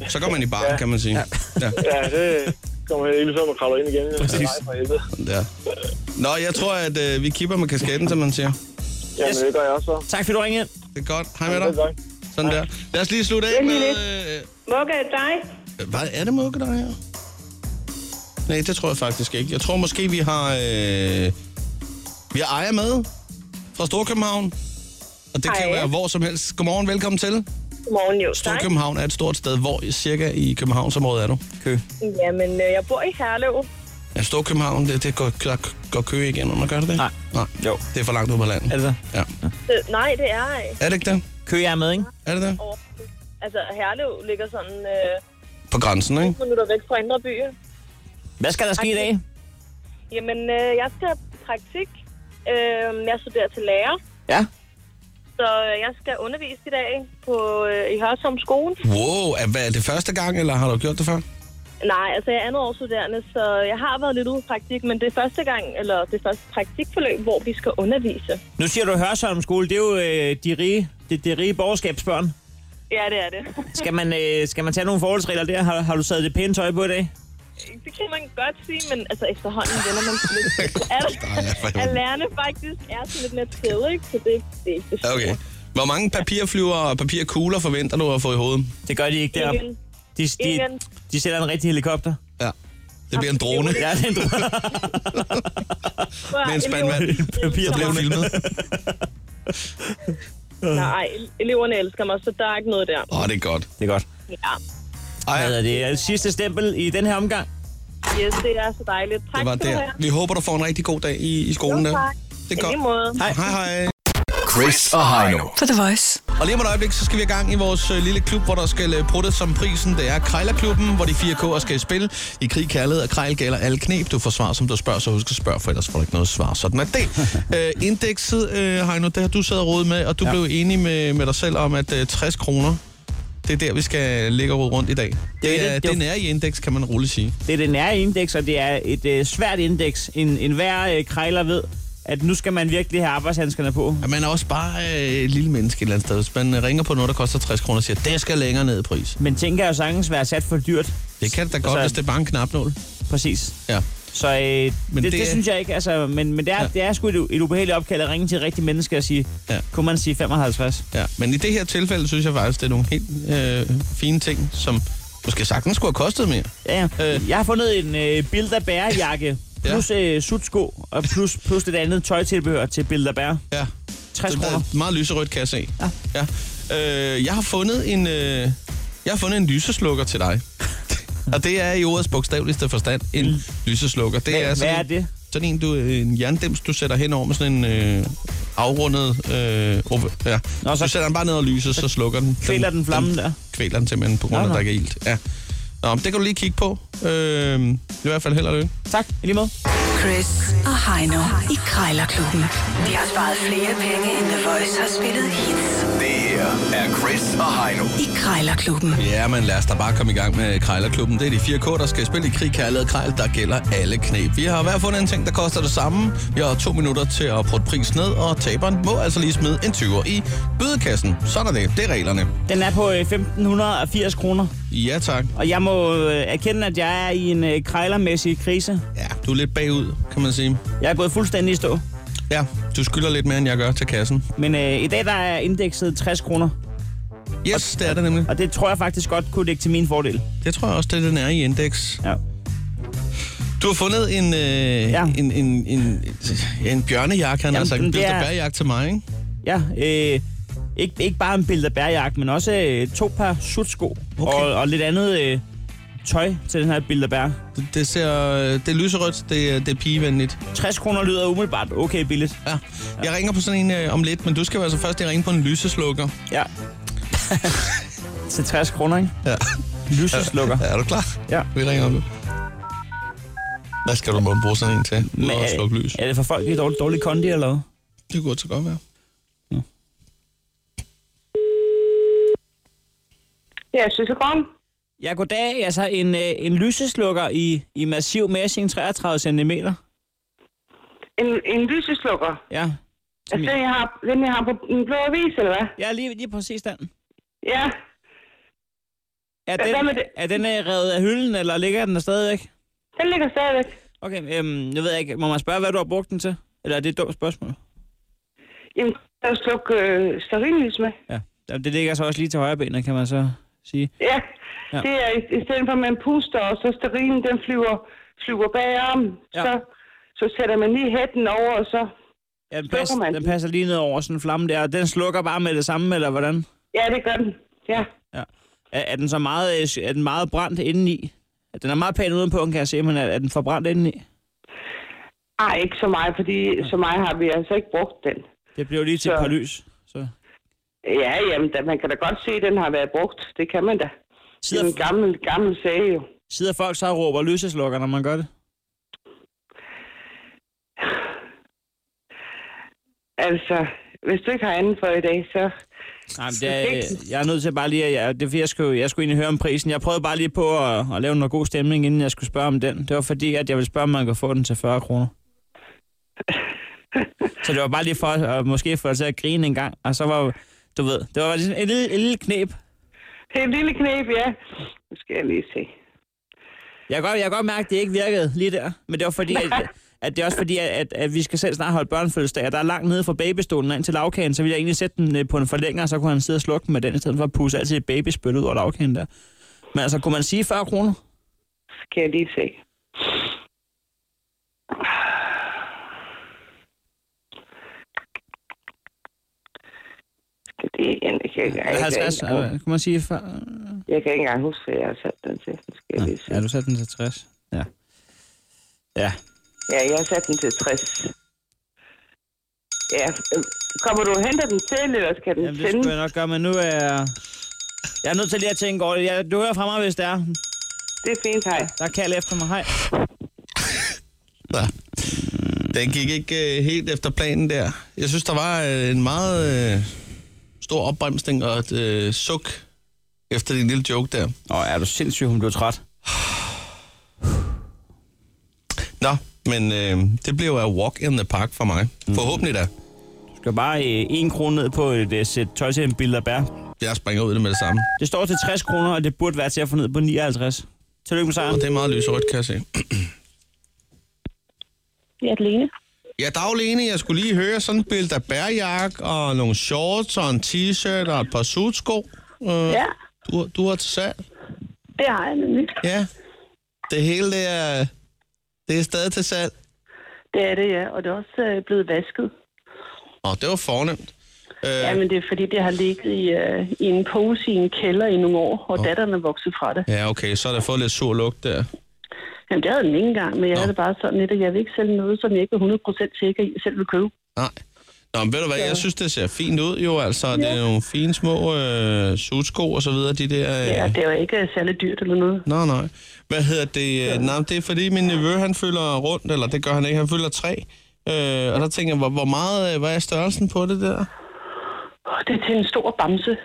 Speaker 2: Så går man i baren, kan man sige. Ja.
Speaker 7: Ja, det kommer helt ligesom og kravler ind igen. Præcis. Nej, for helvede.
Speaker 2: ja. Nå, jeg tror, at øh, vi kipper med kasketten, som man siger.
Speaker 7: Jamen, det gør jeg også, så.
Speaker 3: Tak fordi du ringede. ind.
Speaker 2: Det er godt. Hej med dig.
Speaker 7: Det er godt.
Speaker 2: Sådan der. Lad os lige slutte af med... Øh,
Speaker 8: Mugge dig.
Speaker 2: hvad er det mukke, der er her? Nej, det tror jeg faktisk ikke. Jeg tror måske, vi har... Øh, vi har Aja med fra Storkøbenhavn. Og det kan
Speaker 8: Hej.
Speaker 2: være hvor som helst. Godmorgen, velkommen til.
Speaker 8: Godmorgen, jo. Tak.
Speaker 2: Storkøbenhavn er et stort sted. Hvor cirka i Københavnsområdet er du? Kø.
Speaker 8: Jamen, øh, jeg bor i Herlev.
Speaker 2: Ja, Storkøbenhavn, det, det går, der går kø igen, når man gør det det?
Speaker 3: Nej.
Speaker 2: Nej.
Speaker 3: Jo.
Speaker 2: Det er for langt ud på landet.
Speaker 3: Er det så?
Speaker 2: Ja.
Speaker 8: Øh, nej, det er ej.
Speaker 2: Er det ikke det?
Speaker 3: Altså, Kø jeg er med, ikke?
Speaker 2: Er det det?
Speaker 8: Over. Altså, Herlev ligger sådan øh,
Speaker 2: På grænsen, ikke?
Speaker 8: minutter væk fra Indre By.
Speaker 3: Hvad skal der ske i dag?
Speaker 8: Jamen, øh, jeg skal på praktik. Øh, jeg studerer til lærer,
Speaker 3: Ja.
Speaker 8: så øh, jeg skal undervise i dag på, øh, i Hørsholm skole.
Speaker 2: Wow, er, hvad, er det første gang, eller har du gjort det før?
Speaker 8: Nej, altså jeg er andet års studerende, så jeg har været lidt ude i praktik, men det er første gang, eller det er første praktikforløb, hvor vi skal undervise.
Speaker 3: Nu siger du Hørsholm skole, det er jo øh, de rige, det, det rige borgerskabsbørn.
Speaker 8: Ja, det er det.
Speaker 3: Skal man, øh, skal man tage nogle forholdsregler der? Har, har du taget det pæne tøj på i dag?
Speaker 8: det kan man godt sige, men altså efterhånden vender man sig lidt. til, at,
Speaker 2: for helvede.
Speaker 8: at lærerne faktisk er sådan lidt mere træde, ikke? Så det, det er ikke det store.
Speaker 2: Okay. Hvor mange papirflyver og papirkugler forventer du at få i hovedet?
Speaker 3: Det gør de ikke deroppe.
Speaker 8: Ingen.
Speaker 3: De, de,
Speaker 8: Ingen.
Speaker 3: de sætter en rigtig helikopter.
Speaker 2: Ja. Det bliver en drone.
Speaker 3: Ja, det er en drone.
Speaker 8: Prøv
Speaker 2: Med
Speaker 8: at
Speaker 2: en spand vand.
Speaker 8: eleverne-
Speaker 2: Så bliver det filmet.
Speaker 8: Nej, eleverne elsker mig, så der er ikke noget der.
Speaker 2: Åh, oh, det er godt.
Speaker 3: Det er godt.
Speaker 8: Ja.
Speaker 2: Ej,
Speaker 3: Hvad er det? Øh, Sidste stempel i den her omgang.
Speaker 8: Yes, det er så dejligt. Tak
Speaker 2: det var
Speaker 8: skal du
Speaker 2: der.
Speaker 8: have.
Speaker 2: Vi håber, du får en rigtig god dag i, i skolen
Speaker 8: Jo,
Speaker 2: der.
Speaker 8: tak.
Speaker 2: Det er
Speaker 8: I
Speaker 2: godt.
Speaker 8: lige måde.
Speaker 2: Hej, hej. hej.
Speaker 6: Chris og Heino.
Speaker 4: På The Voice.
Speaker 2: Og lige om et øjeblik, så skal vi i gang i vores øh, lille klub, hvor der skal øh, pruttes som prisen. Det er Krejlerklubben, hvor de fire K'er skal i spil. I krig, kærlighed og krejl gælder alle knep. Du får svar, som du spørger, så husk at spørge, for ellers får du ikke noget svar. Sådan er det. øh, indekset, øh, Heino, det har du siddet og rodet med, og du ja. blev enig med, med dig selv om, at øh, 60 kroner, det er der, vi skal ligge og rode rundt i dag. Det
Speaker 3: det-
Speaker 2: er,
Speaker 3: det er-
Speaker 2: det er i indeks, kan man roligt sige.
Speaker 3: Det er det nære indeks, og det er et øh, svært indeks. En, en hver øh, krejler ved, at nu skal man virkelig have arbejdshandskerne på.
Speaker 2: At man er også bare øh, et lille menneske et eller andet sted. Hvis man øh, ringer på noget, der koster 60 kroner, og siger, det skal længere ned i pris.
Speaker 3: Men tænker jeg sagtens være sat for dyrt.
Speaker 2: Det kan det da godt,
Speaker 3: Altså-
Speaker 2: hvis det er bare en knapnål.
Speaker 3: Præcis.
Speaker 2: Ja.
Speaker 3: Så øh, men det,
Speaker 2: det
Speaker 3: det, det
Speaker 2: er-
Speaker 3: synes jeg ikke, altså, men, men det, er,
Speaker 2: Ja.
Speaker 3: ja. det er sgu et, et ubehageligt opkald at ringe til rigtige mennesker og sige,
Speaker 2: Ja.
Speaker 3: ja. kunne man sige 55?
Speaker 2: Ja, men i det her tilfælde synes jeg faktisk, det er nogle helt øh, fine ting, som måske sagtens skulle have kostet mere.
Speaker 3: Ja, ja.
Speaker 2: Øh.
Speaker 3: Øh. Jeg har fundet en øh, Bilderberg-jakke,
Speaker 2: Ja.
Speaker 3: plus øh, sutsko, og plus, plus lidt andet tøjtilbehør til Bilderberg.
Speaker 2: Ja.
Speaker 3: 60
Speaker 2: Det er
Speaker 3: kroner.
Speaker 2: meget lyserødt, kan jeg se. Ja. ja. Øh, jeg har fundet en... Øh, jeg har fundet en lyseslukker til dig. Og det er i ordets bogstaveligste forstand en lyseslukker. Det
Speaker 3: Mm. Hvad-
Speaker 2: er sådan,
Speaker 3: hvad er det?
Speaker 2: Sådan en, du, en jerndims, du sætter hen over med sådan en øh, afrundet... Øh, ov- ja. Nå,
Speaker 3: Nå,
Speaker 2: så,
Speaker 3: så-
Speaker 2: du sætter den bare ned og lyser, så slukker den.
Speaker 3: Kvæler den flammen der.
Speaker 2: Kvæler den simpelthen på grund af, at
Speaker 3: Nå, nå.
Speaker 2: der ikke er ilt. Ja. Nå, men det kan du lige kigge på. Øh, det er i hvert fald held og lykke.
Speaker 3: Tak, i lige måde.
Speaker 4: Chris og Heino i Krejlerklubben. De har sparet flere penge, end The Voice har spillet hits.
Speaker 6: Det her er Chris og Heino.
Speaker 4: I Krejlerklubben.
Speaker 2: Ja, men lad os da bare komme i gang med Krejlerklubben. Det er de fire K, der skal spille i krig, kærlighed og krejl, der gælder alle knep. Vi har hver fundet en ting, der koster det samme. Vi har to minutter til at putte pris ned, og taberen må altså lige smide en 20'er i bødekassen. Sådan er det. Det er reglerne.
Speaker 3: Den er på øh, 1580 kroner,
Speaker 2: Ja, tak.
Speaker 3: og jeg må øh, erkende, at jeg er i en øh, krejlermæssig krise.
Speaker 2: Ja, du er lidt bagud, kan man sige.
Speaker 3: Jeg er gået fuldstændig i stå.
Speaker 2: Ja, du skylder lidt mere, end jeg gør til kassen.
Speaker 3: Men øh, i dag der er indekset 60 kroner,
Speaker 2: Yes, det er det nemlig.
Speaker 3: og det tror jeg faktisk godt kunne dække til min fordel.
Speaker 2: Det tror jeg også, det er den er i indeks.
Speaker 3: Ja.
Speaker 2: Du har fundet en, øh, ja. en, en, en, en bjørnejakke, han har
Speaker 3: Jamen,
Speaker 2: sagt.
Speaker 3: den
Speaker 2: En
Speaker 3: der-
Speaker 2: bjørnejakke til mig, ikke?
Speaker 3: Ja, øh, ikke, ikke bare en Bilderberg-jakke, men også øh, to par sutsko okay. og, og lidt andet øh, tøj til den her Bilderberg.
Speaker 2: Det, det ser... øh, Det er lyserødt, det, er- det er pigevenligt.
Speaker 3: 60 kroner lyder umiddelbart okay billigt.
Speaker 2: Ja. Jeg ringer på sådan en øh, om lidt, men du skal jo altså først lige ringe på en lyseslukker.
Speaker 3: Ja. til 60 kroner, ikke?
Speaker 2: Ja.
Speaker 3: Lyseslukker.
Speaker 2: Er du klar?
Speaker 3: Ja.
Speaker 2: Vi ringer om lidt. Hvad skal du måtte bruge sådan en til?
Speaker 3: Men øh,
Speaker 2: Med at slukke lys.
Speaker 3: er, er det for folk, der er dårlig, dårlig kondi eller hvad?
Speaker 2: Det kunne så godt være.
Speaker 8: Ja, Søsegrum.
Speaker 3: Ja, goddag. Altså en, øh, en lyseslukker i, i massiv messing, 33 cm.
Speaker 8: En, en lyseslukker.
Speaker 3: Ja. Som
Speaker 8: Altså,
Speaker 3: jeg,
Speaker 8: den jeg har, den jeg har på den blå avis, eller hvad?
Speaker 3: ja, lige, lige præcis den.
Speaker 8: Ja.
Speaker 3: Er
Speaker 8: Hvad- hvad med
Speaker 3: den,
Speaker 8: det?
Speaker 3: er den øh, revet af hylden, eller ligger den der stadigvæk?
Speaker 8: Den ligger stadigvæk.
Speaker 3: Okay, øhm, nu ved jeg ikke. Må man spørge, hvad du har brugt den til? Eller er det et dumt spørgsmål?
Speaker 8: Jamen, der er sluk øh, stearinlys med.
Speaker 3: Ja. Jamen, Det ligger så også lige til højre benet, kan man så sige.
Speaker 8: Ja.
Speaker 3: Ja.
Speaker 8: ja. Det er i, i stedet for, at man puster, og så stearinen, den flyver, flyver bagom.
Speaker 3: Ja.
Speaker 8: Ja. Så, så sætter man lige hætten over, og så...
Speaker 3: Ja, den,
Speaker 8: Slukker
Speaker 3: pas,
Speaker 8: man
Speaker 3: den
Speaker 8: den?
Speaker 3: passer lige ned over sådan en flamme der, og den slukker bare med det samme, eller hvordan?
Speaker 8: Ja, det gør den. Ja.
Speaker 3: Ja. Er, er den så meget, øh, sy- er den meget brændt indeni? Den er meget pæn udenpå, kan jeg se, men er, er den forbrændt indeni?
Speaker 8: Ej, ikke så meget, fordi så meget har vi altså ikke brugt den.
Speaker 3: Det bliver jo lige til
Speaker 8: Så-
Speaker 3: et par lys. Så.
Speaker 8: Ja, jamen, da, man kan da godt se, at den har været brugt. Det kan man da. Det er en
Speaker 3: Sidder,
Speaker 8: gammel, gammel sag jo.
Speaker 3: sidder folk så og råber lyseslukker, når man gør det?
Speaker 8: Altså, hvis du ikke har andet for i dag, så...
Speaker 3: Nej, men det er, øh, jeg er nødt til bare lige, at jeg, det er, fordi, jeg skulle, jeg skulle egentlig høre om prisen. Jeg prøvede bare lige på at, at lave noget god stemning, inden jeg skulle spørge om den. Det var fordi, at jeg ville spørge, om man kunne få den til 40 kroner. så det var bare lige for at måske få dig til at grine en gang. Og så var, du ved, det var ligesom en lille, en lille knep.
Speaker 8: Det er et lille knæb, ja. Nu skal jeg lige se.
Speaker 3: Jeg kan godt, jeg kan godt mærke, at det ikke virkede lige der. Men det var fordi, at, at det er også fordi, at, at, at vi skal selv snart holde børnefødselsdag, og der er langt nede fra babystolen og ind til lavkagen, så ville jeg egentlig sætte den øh, på en forlænger, og så kunne han sidde og slukke den med den, i stedet for at pusse altid et babyspyl ud over lavkagen der. Men altså, kunne man sige 40 kroner?
Speaker 8: Skal jeg lige se. Skal det igen? Jeg kan ikke, jeg,
Speaker 3: Eller
Speaker 8: kan
Speaker 3: 50?
Speaker 8: ikke, engang-
Speaker 3: Eller, kunne man sige 40?
Speaker 8: jeg kan ikke engang huske, hvad jeg har sat den til. Nu Skal jeg lige se.
Speaker 3: Ja, du satte den til 60. Ja. Ja.
Speaker 8: Ja, jeg har sat den til 60. Ja, øh, kommer du og henter den til, eller skal den
Speaker 3: Jamen, det
Speaker 8: sende?
Speaker 3: skulle jeg nok gøre, men nu er jeg... Jeg er nødt til lige at tænke over det. Jeg, du hører fra mig, hvis det er.
Speaker 8: Det er fint, hej.
Speaker 3: Der er kald efter mig. Hej.
Speaker 2: Ja. Mm. Den gik ikke øh, helt efter planen der. Jeg synes, der var øh, en meget øh, stor opbremsning og et øh, suk efter din lille joke der.
Speaker 3: Nå, er du sindssyg, hun blev træt.
Speaker 2: Nå, men øh, det blev jo a walk in the park for mig. Forhåbentlig da.
Speaker 3: Du skal bare øh, en krone ned på et øh, sæt tøj til en bil, der bær.
Speaker 2: Jeg springer ud i det med det samme.
Speaker 3: Det står til 60 kroner, og det burde være til at få ned på 59. Tillykke med
Speaker 2: Og
Speaker 3: sejren.
Speaker 2: det er meget lyserødt, kan jeg se.
Speaker 8: Ja, Lene.
Speaker 2: Ja, dag Lene, jeg skulle lige høre sådan en bild af bærjakke og nogle shorts og en t-shirt og et par sudsko. Øh, ja. Du, du har til salg.
Speaker 8: Det har jeg nemlig.
Speaker 2: Ja. Det hele, det er, det er stadig til salg.
Speaker 8: Det er det, ja. Og det er også øh, blevet vasket.
Speaker 2: Åh, det var fornemt. Øh,
Speaker 8: Ja, men det er fordi, det har ligget i, øh, i en pose i en kælder i nogle år, og oh. datteren er vokset fra det.
Speaker 2: Ja, okay, så har der fået lidt sur lugt der.
Speaker 8: Jamen, det havde den ikke engang, men jeg
Speaker 2: Nå.
Speaker 8: havde det bare sådan lidt, at jeg vil ikke sælge noget, som jeg ikke er 100% sikker i, selv vil købe.
Speaker 2: Nej. Nå, men ved du hvad, jeg synes, det ser fint ud jo, altså. Det er nogle fine små øh, sudsko og så videre, de der... Øh...
Speaker 8: Ja, det var ikke øh, særlig dyrt eller noget.
Speaker 2: Nå, nej. Hvad hedder det? Ja. Nej, men det er fordi min nevø, han fylder rundt, eller det gør han ikke, han fylder tre. Øh, og der tænker jeg, hvor, hvor meget, øh, hvad er størrelsen på det der?
Speaker 11: Og det er til en stor bamse.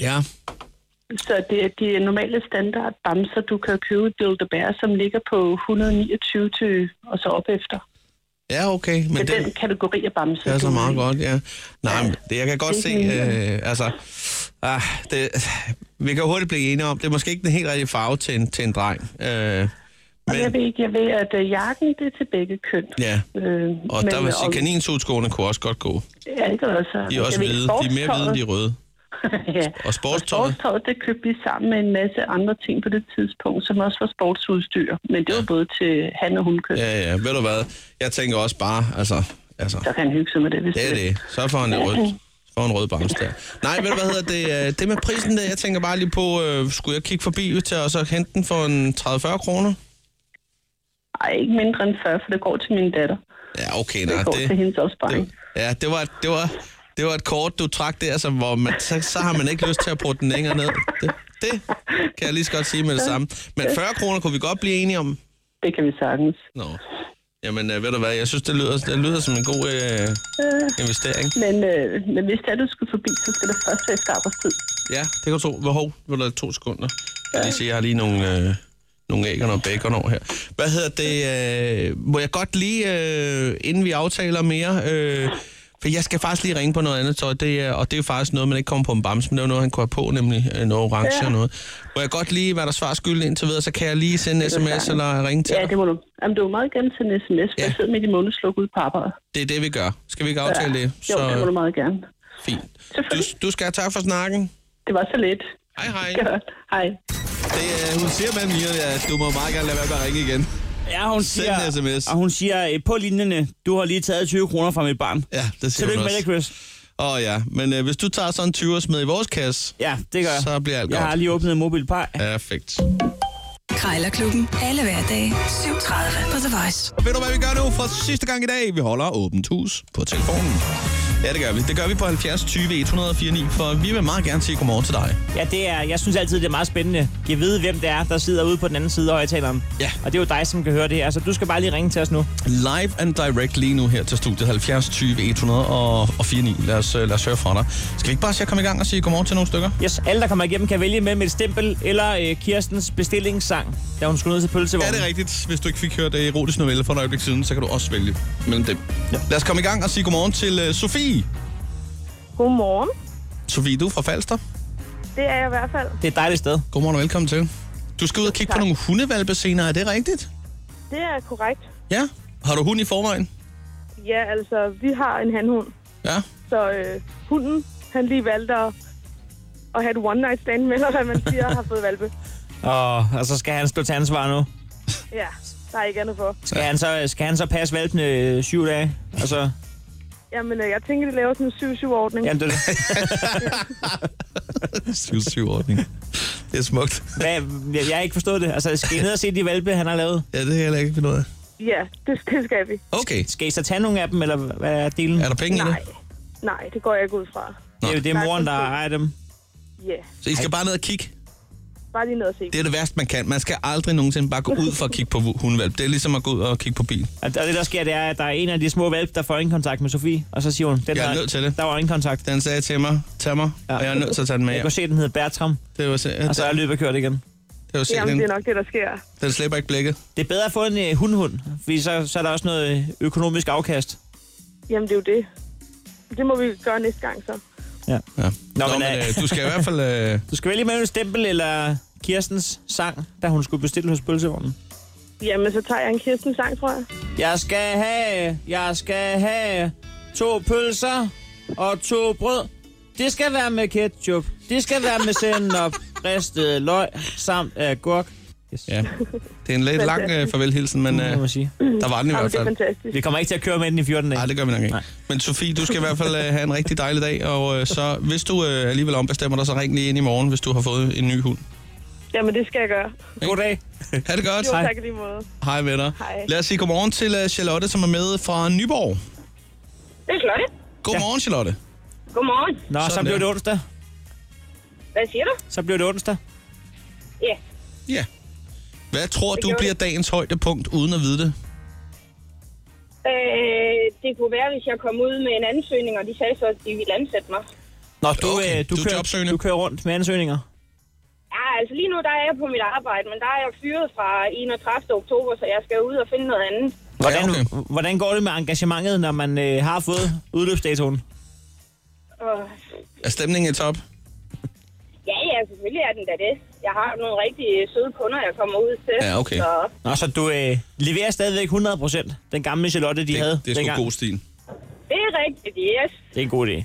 Speaker 2: Ja.
Speaker 11: Så det er de normale standard bamser, du kan købe Dildo Bear, som ligger på 129 til, og så op efter.
Speaker 2: Ja, okay. Men
Speaker 11: det er den, kategori af bamse.
Speaker 2: Det er så
Speaker 11: du-
Speaker 2: meget godt, ja. Nej, men det, jeg kan godt
Speaker 11: Det
Speaker 2: se,
Speaker 11: kan jeg.
Speaker 2: øh, altså, ah, det, vi kan hurtigt blive enige om, det er måske ikke den helt rigtige farve til en, til en dreng. Øh,
Speaker 11: Og jeg ved ikke, jeg ved, at øh, jakken, det er til begge køn.
Speaker 2: ja,
Speaker 11: Øh,
Speaker 2: og der vil jeg sige, kaninsudskoene kunne også godt gå.
Speaker 11: Ja, det kan også.
Speaker 2: De er også hvide. De er mere hvide, end de er røde.
Speaker 11: ja.
Speaker 2: Og sportstøjet,
Speaker 11: Sportstøjet, det købte vi sammen med en masse andre ting på det tidspunkt, som også var sportsudstyr. Men det var både til han- og hundkøn.
Speaker 2: ja, ja, ved du hvad, jeg tænker også bare, altså, altså.
Speaker 11: Så kan han hygge sig med det, hvis
Speaker 2: det er det. Så får han en rød, får en rød bamse der. Nej, ved du hvad hedder det, øh, det med prisen der, jeg tænker bare lige på, øh, skulle jeg kigge forbi til og så hente den for en 30-40 kroner?
Speaker 11: Ej, ikke mindre end 40, for det går til min datter.
Speaker 2: Ja, okay,
Speaker 11: Det
Speaker 2: nej,
Speaker 11: går til hendes opsparing.
Speaker 2: det, ja, det var, det var, det var et kort, du trak der, som, hvor man, så, så har man ikke lyst til at bruge den længere ned. Det, det kan jeg lige så godt sige med det samme. Men 40 kroner kunne vi godt blive enige om.
Speaker 11: Det kan vi sagtens.
Speaker 2: Nå. Jamen, øh, ved du hvad, jeg synes, det lyder, det lyder som en god øh,
Speaker 11: Øh,
Speaker 2: investering.
Speaker 11: men, øh, men hvis det er, du skulle forbi, så skal det først være efter arbejdstid.
Speaker 2: Ja, det kan du tro. Hvor hov, vil du have to sekunder? Jeg, lige se, jeg har lige nogle, øh, nogle æg og noget bacon over her. Hvad hedder det? Øh, må jeg godt lige, øh, inden vi aftaler mere, øh, for jeg skal faktisk lige ringe på noget andet tøj, det er, og det er jo faktisk noget, man ikke kommer på en bamse, men det er jo noget, han kunne have på, nemlig øh, noget orange
Speaker 11: Ja.
Speaker 2: ja. og noget. Må jeg godt lige være der svar skylden indtil videre, så kan jeg lige sende en
Speaker 11: Det er
Speaker 2: sms
Speaker 11: klart.
Speaker 2: eller ringe til
Speaker 11: Ja,
Speaker 2: dig.
Speaker 11: det må du. Jamen, du må meget gerne sende en sms, for jeg sidder midt i månedsluk ude på arbejde.
Speaker 2: Det er det, vi gør. Skal vi ikke aftale det?
Speaker 11: Jo, det må du meget gerne.
Speaker 2: Fint. Du, du skal have tak for snakken.
Speaker 11: Det var så lidt.
Speaker 2: Hej, hej.
Speaker 11: Godt. Hej.
Speaker 2: Det, øh, hun siger med Mia, at du må meget gerne lade være med at ringe igen.
Speaker 3: Ja, hun
Speaker 2: Send
Speaker 3: siger,
Speaker 2: en sms.
Speaker 3: Og hun siger, øh, på linjerne, du har lige taget 20 kroner fra mit barn.
Speaker 2: Ja, det siger
Speaker 3: Tillykke
Speaker 2: hun
Speaker 3: med det,
Speaker 2: også.
Speaker 3: Chris.
Speaker 2: Åh oh, ja, men øh, hvis du tager sådan en 20'er smed i vores kasse,
Speaker 3: Ja, det gør jeg.
Speaker 2: så bliver alt
Speaker 3: Jeg
Speaker 2: godt.
Speaker 3: har lige åbnet en mobilpej.
Speaker 2: Perfekt.
Speaker 4: Krejlerklubben. Alle hverdage 7.30 på The Voice.
Speaker 2: Og ved du, hvad vi gør nu for sidste gang i dag? Vi holder åbent hus på telefonen. Ja, det gør vi. Det gør vi på 70 20 104 9, for vi vil meget gerne sige godmorgen til dig.
Speaker 3: Ja, det er, jeg synes altid, det er meget spændende. Jeg ved, hvem det er, der sidder ude på den anden side af højtaleren.
Speaker 2: Ja.
Speaker 3: Og det er jo dig, som kan høre det her, så du skal bare lige ringe til os nu.
Speaker 2: Live and direct lige nu her til studiet 70 20 104 9. Lad os, øh, lad os høre fra dig. Skal vi ikke bare se at komme i gang og sige godmorgen til nogle stykker?
Speaker 3: Yes, alle, der kommer igennem, kan vælge mellem et stempel eller øh, Kirstens bestillingssang, da hun skulle ned til pølsevognen.
Speaker 2: Ja, det er rigtigt. Hvis du ikke fik hørt øh, erotisk novelle for et øjeblik siden, så kan du også vælge mellem dem. Ja. Lad os komme i gang og sige godmorgen til øh, Sofie.
Speaker 8: Godmorgen.
Speaker 2: Sofie, du er fra Falster.
Speaker 8: Det er jeg i hvert fald.
Speaker 3: Det er et dejligt sted.
Speaker 2: Godmorgen og velkommen til. Du skal ud og kigge på nogle hundevalpe senere, er det rigtigt?
Speaker 8: Det er korrekt.
Speaker 2: Ja. Har du hund i forvejen?
Speaker 8: Ja, altså, vi har en handhund.
Speaker 2: Ja.
Speaker 8: Så øh, hunden, han lige valgte at, at have et one-night stand med, eller hvad man siger, har fået valpe.
Speaker 3: Og, og så skal han stå til ansvar nu.
Speaker 8: Ja, der er ikke andet for.
Speaker 3: Skal, han, så, skal han så passe valpene øh, syv dage? Og så,
Speaker 8: Jamen, øh, jeg tænker, de laver sådan en 7-7-ordning.
Speaker 3: jamen, det, er det.
Speaker 2: 7-7 ordning. Det er smukt.
Speaker 3: hvad, jeg, jeg har ikke forstået det. Altså, skal I ned og se de valpe, han har lavet?
Speaker 2: Ja, det er heller ikke noget af.
Speaker 8: Ja, det, det skal vi.
Speaker 2: Okay.
Speaker 3: Skal I så tage nogle af dem, eller hvad er delen?
Speaker 2: Er der penge i
Speaker 8: Nej.
Speaker 2: det?
Speaker 8: Nej, det går jeg ikke ud fra.
Speaker 3: Det er jo det er moren, der ejer dem.
Speaker 8: Ja,
Speaker 2: Så I skal bare ned og kigge.
Speaker 8: bare lige ned og se.
Speaker 2: Det er det værste, man kan. Man skal aldrig nogensinde bare gå ud for at kigge på hundevalp. Det er ligesom at gå ud og kigge på bil.
Speaker 3: Og og det, der sker, det er, at der er en af de små valpe, der får øjenkontakt med Sofie, og så siger hun, den
Speaker 2: Jeg er
Speaker 3: der,
Speaker 2: nødt til det.
Speaker 3: der var øjenkontakt.
Speaker 2: Den sagde til mig, tag mig,
Speaker 3: Ja.
Speaker 2: og jeg er nødt til at tage den med
Speaker 3: Jeg
Speaker 2: hjem.
Speaker 3: kunne se, at den hedder Bertram,
Speaker 2: Det var se,
Speaker 3: og så er
Speaker 2: den,
Speaker 3: løbet kørt igen.
Speaker 2: det var se,
Speaker 8: Jamen, det
Speaker 2: den,
Speaker 8: er nok det, der sker.
Speaker 2: den slipper ikke blikket.
Speaker 3: Det er bedre at få en øh, hundhund, fordi så, så er der også noget øh, økonomisk afkast.
Speaker 8: Jamen, det er jo det. Det må vi gøre næste gang, så.
Speaker 2: Ja. Nå,
Speaker 3: men,
Speaker 2: men,
Speaker 3: øh,
Speaker 2: øh, du skal i hvert fald... Øh,
Speaker 3: Du skal vælge mellem stempel eller Kirstens sang, da hun skulle bestille hos pølsevognen.
Speaker 8: Jamen, så tager jeg en Kirsten sang, tror jeg.
Speaker 3: Jeg skal have, jeg skal have to pølser og to brød. Det skal være med ketchup. Det skal være med sennep, ristet løg samt agurk. Yes.
Speaker 2: ja. Det er en lidt lang øh, farvelhilsen, men øh,
Speaker 3: Det må man sige.
Speaker 2: der var den i
Speaker 8: Jamen,
Speaker 2: hvert
Speaker 8: det er
Speaker 2: fald.
Speaker 8: fantastisk.
Speaker 3: Vi kommer ikke til at køre med den i 14 dage.
Speaker 2: Nej, det gør vi nok ikke.
Speaker 3: Nej.
Speaker 2: Nej. Men Sofie, du skal i hvert fald øh, have en rigtig dejlig dag, og øh, så hvis du øh, alligevel ombestemmer dig, så ring lige ind i morgen, hvis du har fået en ny hund.
Speaker 8: Jamen, det skal jeg gøre.
Speaker 3: Goddag.
Speaker 2: Ha' det godt.
Speaker 8: Jo,
Speaker 2: Hej.
Speaker 8: tak i lige måde.
Speaker 2: Hej med dig.
Speaker 8: Hej.
Speaker 2: Lad os sige godmorgen til øh, Charlotte, som er med fra Nyborg.
Speaker 12: Det er Charlotte.
Speaker 2: Godmorgen, ja. Charlotte.
Speaker 12: Godmorgen.
Speaker 3: Nå, så
Speaker 2: Sådan
Speaker 3: blev
Speaker 2: der.
Speaker 3: det onsdag.
Speaker 12: Hvad siger du?
Speaker 3: Så blev det onsdag.
Speaker 12: Ja,
Speaker 2: Ja. Hvad tror
Speaker 12: Det
Speaker 2: du
Speaker 12: gjorde
Speaker 2: bliver
Speaker 12: det.
Speaker 2: dagens højdepunkt, uden at vide det?
Speaker 12: øh, det kunne være, hvis jeg kom ud med en ansøgning, og de sagde så, at de ville ansætte mig.
Speaker 3: Nå, du, okay. du,
Speaker 2: Du er
Speaker 3: kører,
Speaker 2: jobsøgende.
Speaker 3: du kører rundt med ansøgninger.
Speaker 8: Ja, altså lige nu der er jeg på mit arbejde, men der er jeg fyret fra 31. oktober, så jeg skal ud og finde noget andet.
Speaker 3: Hvordan, ja, okay. hvordan går det med engagementet, når man øh, har fået udløbsdatoen?
Speaker 8: Og
Speaker 2: Er stemningen i top?
Speaker 8: ja, ja, selvfølgelig er den da det. Jeg har nogle rigtig søde kunder, jeg kommer ud til.
Speaker 3: Ja, okay.
Speaker 8: Så
Speaker 3: Nå, så du øh, leverer stadigvæk 100% den gamle Charlotte, de det, havde
Speaker 2: Det er sgu
Speaker 3: dengang.
Speaker 2: god stil.
Speaker 8: det er rigtigt, yes.
Speaker 3: Det er en god idé.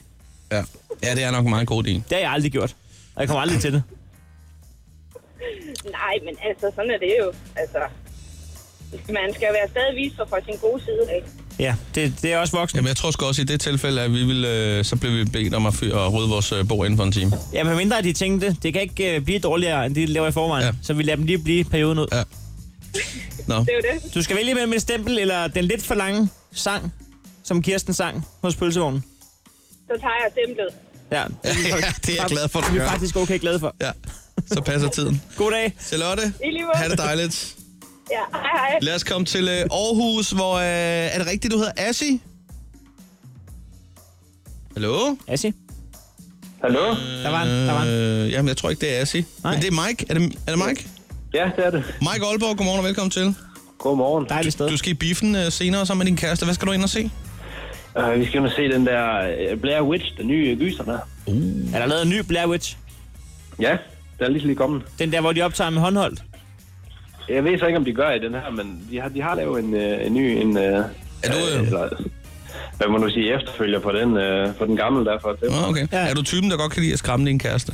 Speaker 2: Ja. ja, det er nok en meget god idé. Det
Speaker 3: har jeg aldrig gjort. Og jeg kommer aldrig til det.
Speaker 8: Nej, men altså, sådan er det jo. Altså, man skal jo være stadig vist for, for sin gode side, ikke?
Speaker 3: Ja, det, det er også voksne.
Speaker 2: Jamen, jeg tror sgu også i det tilfælde, at vi vil, øh, så bliver vi bedt om at, fyre, at rydde vores øh, bord inden for en time.
Speaker 3: Ja, men mindre de tænkte, det kan ikke øh, blive dårligere, end det, de laver i forvejen. Ja. Så vi lader dem lige blive perioden ud.
Speaker 2: Ja. Nå.
Speaker 8: Det er jo det.
Speaker 3: Du skal vælge mellem et stempel eller den lidt for lange sang, som Kirsten sang hos pølsevognen.
Speaker 8: Så tager jeg stemplet.
Speaker 3: Ja, det er,
Speaker 2: Ja, det er jeg glad for, du
Speaker 3: Vi er
Speaker 2: gør.
Speaker 3: faktisk okay glade for.
Speaker 2: Ja, så passer tiden.
Speaker 3: God dag.
Speaker 2: Charlotte,
Speaker 8: I lige måde.
Speaker 2: ha' det dejligt.
Speaker 8: Ja, hej hej.
Speaker 2: Lad os komme til øh, Aarhus, hvor... Øh, er det rigtigt, du hedder Assi? Hallo?
Speaker 3: Assi?
Speaker 10: Hallo?
Speaker 2: Der var en, der var en. Øh, jamen, jeg tror ikke, det er Assi. Nej. Men det er Mike. Er det, er det Mike?
Speaker 10: Ja, det er det.
Speaker 2: Mike Aalborg, godmorgen og velkommen til.
Speaker 10: Godmorgen.
Speaker 3: Dejligt sted.
Speaker 2: Øh, Du, du skal i biffen øh, senere sammen med din kæreste. Hvad skal du ind og se?
Speaker 10: Uh, vi skal ind og se den der øh, Blair Witch, den nye øh, gyser der.
Speaker 3: Er der lavet en ny Blair Witch?
Speaker 10: Ja, der er lige så lige kommet.
Speaker 3: Den der, hvor de optager med håndholdt?
Speaker 10: Jeg ved så ikke, om de gør i den her, men de har, de har lavet en, øh, en ny... En, øh, er du, øh, eller, hvad må du sige, efterfølger på den, øh, på den gamle der. For det.
Speaker 2: Nå, okay. Ja. Er du typen, der godt kan lide at skræmme din kæreste?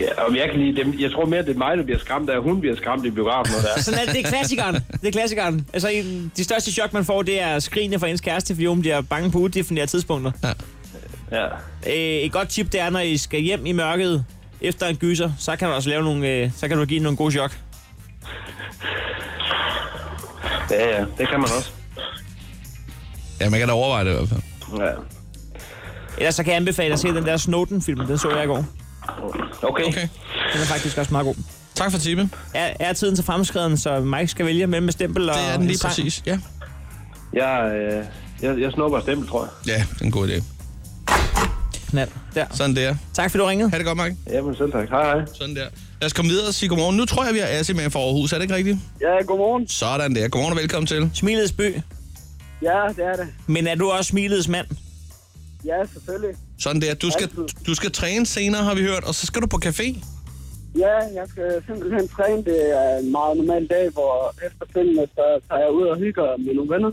Speaker 10: Ja, om jeg, kan lide dem, jeg tror mere, det er mig, der bliver skræmt, af hun bliver skræmt i biografen. Og der.
Speaker 3: Sådan er det, det er klassikeren. Det er klassikeren. Altså, en- de største chok, man får, det er skrigende fra ens kæreste, fordi hun bliver bange på udefinerede tidspunkter.
Speaker 2: Ja.
Speaker 10: ja.
Speaker 3: Øh, et godt tip, det er, når I skal hjem i mørket efter en gyser, så kan du også lave nogle, øh, så kan du give nogle gode chok.
Speaker 10: Ja, ja, det kan man også.
Speaker 2: Ja, man kan da overveje det i hvert fald.
Speaker 10: Ja.
Speaker 3: Ellers så kan jeg anbefale at se den der Snowden-film, den så jeg i går.
Speaker 10: Okay.
Speaker 2: okay.
Speaker 3: Den er faktisk også meget god.
Speaker 2: Tak for tippet.
Speaker 3: Er, er tiden så fremskreden, så Mike skal vælge mellem et stempel og
Speaker 2: Det er den
Speaker 3: en
Speaker 2: lige
Speaker 3: sang?
Speaker 2: præcis, ja.
Speaker 10: Jeg, øh, jeg, jeg snupper stempel, tror jeg.
Speaker 2: Ja, det er en god idé.
Speaker 3: Knald. Der.
Speaker 2: Sådan der.
Speaker 3: Tak fordi du ringede.
Speaker 2: Ha' det godt, Mike.
Speaker 10: Jamen selv tak. Hej hej.
Speaker 2: Sådan der. Lad os komme videre og sige godmorgen. Nu tror jeg, vi har Assi med fra Aarhus. Er det ikke rigtigt?
Speaker 13: Ja, godmorgen.
Speaker 2: Sådan der. Godmorgen og velkommen til.
Speaker 3: Smilets by.
Speaker 13: Ja, det er det.
Speaker 3: Men er du også smilets mand?
Speaker 13: Ja, selvfølgelig.
Speaker 2: Sådan der. Du skal, du skal træne senere, har vi hørt, og så skal du på café.
Speaker 13: Ja, jeg skal simpelthen træne. Det er en meget normal dag, hvor efterfølgende så tager jeg ud og hygger med nogle venner.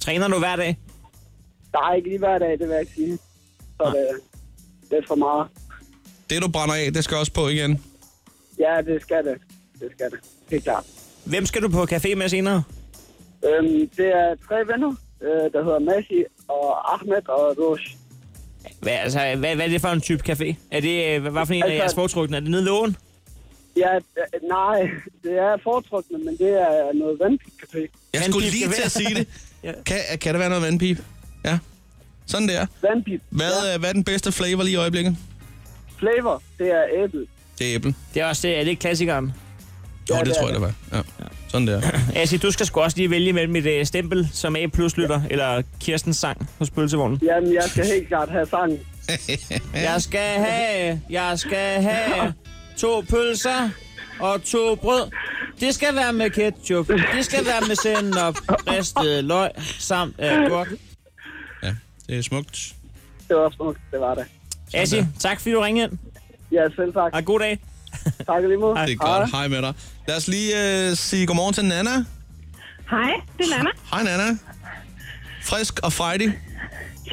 Speaker 3: Træner du hver dag?
Speaker 13: Nej, ikke lige hver dag, det vil jeg ikke sige. Så det er lidt for meget.
Speaker 2: Det, du brænder af, det skal også på igen.
Speaker 13: Ja, det skal det. Det skal det. Helt klart.
Speaker 3: Hvem skal du på café med senere?
Speaker 13: Øhm, det er tre venner, øh, der hedder Masi og Ahmed og Roche.
Speaker 3: Hvad, altså, hvad, hvad er det for en type café? Er det, øh, hvad, hvad for en af
Speaker 13: Altså-
Speaker 3: jeres foretrukne? Er det nede i lågen?
Speaker 13: Ja, d- nej, det er foretrukne, men det er noget vandpip-café.
Speaker 2: Jeg skulle lige til at sige det. Kan, kan der være noget vandpip? Ja. Sådan der.
Speaker 13: Vandpip.
Speaker 2: Hvad, ja. hvad er den bedste flavor lige i øjeblikket?
Speaker 13: Flavor, det er æble.
Speaker 2: Det er æble.
Speaker 3: Det er også det, er det ikke klassikeren?
Speaker 2: Jo,
Speaker 13: Ja,
Speaker 2: det,
Speaker 13: det er
Speaker 2: det tror jeg, det var. Ja. Sådan der.
Speaker 3: Altså, du skal sgu også lige vælge mellem et øh, stempel som A+, lytter, eller Kirstens sang hos pølsevognen.
Speaker 13: Jamen, jeg skal helt klart have sangen.
Speaker 3: Jeg skal have, jeg skal have to pølser og to brød. Det skal være med ketchup, det skal være med sennep, ristet løg samt øh, agurk.
Speaker 2: Det er smukt.
Speaker 13: Det var smukt, det var det.
Speaker 3: Assi, tak fordi du ringede ind.
Speaker 13: Ja, selv tak.
Speaker 3: Og god dag.
Speaker 13: Tak i lige måde.
Speaker 2: Det er godt. Hej med dig. Lad os lige øh, sige godmorgen til Nana.
Speaker 8: Hej, det er Nana.
Speaker 2: Hej Nana. Frisk og Friday.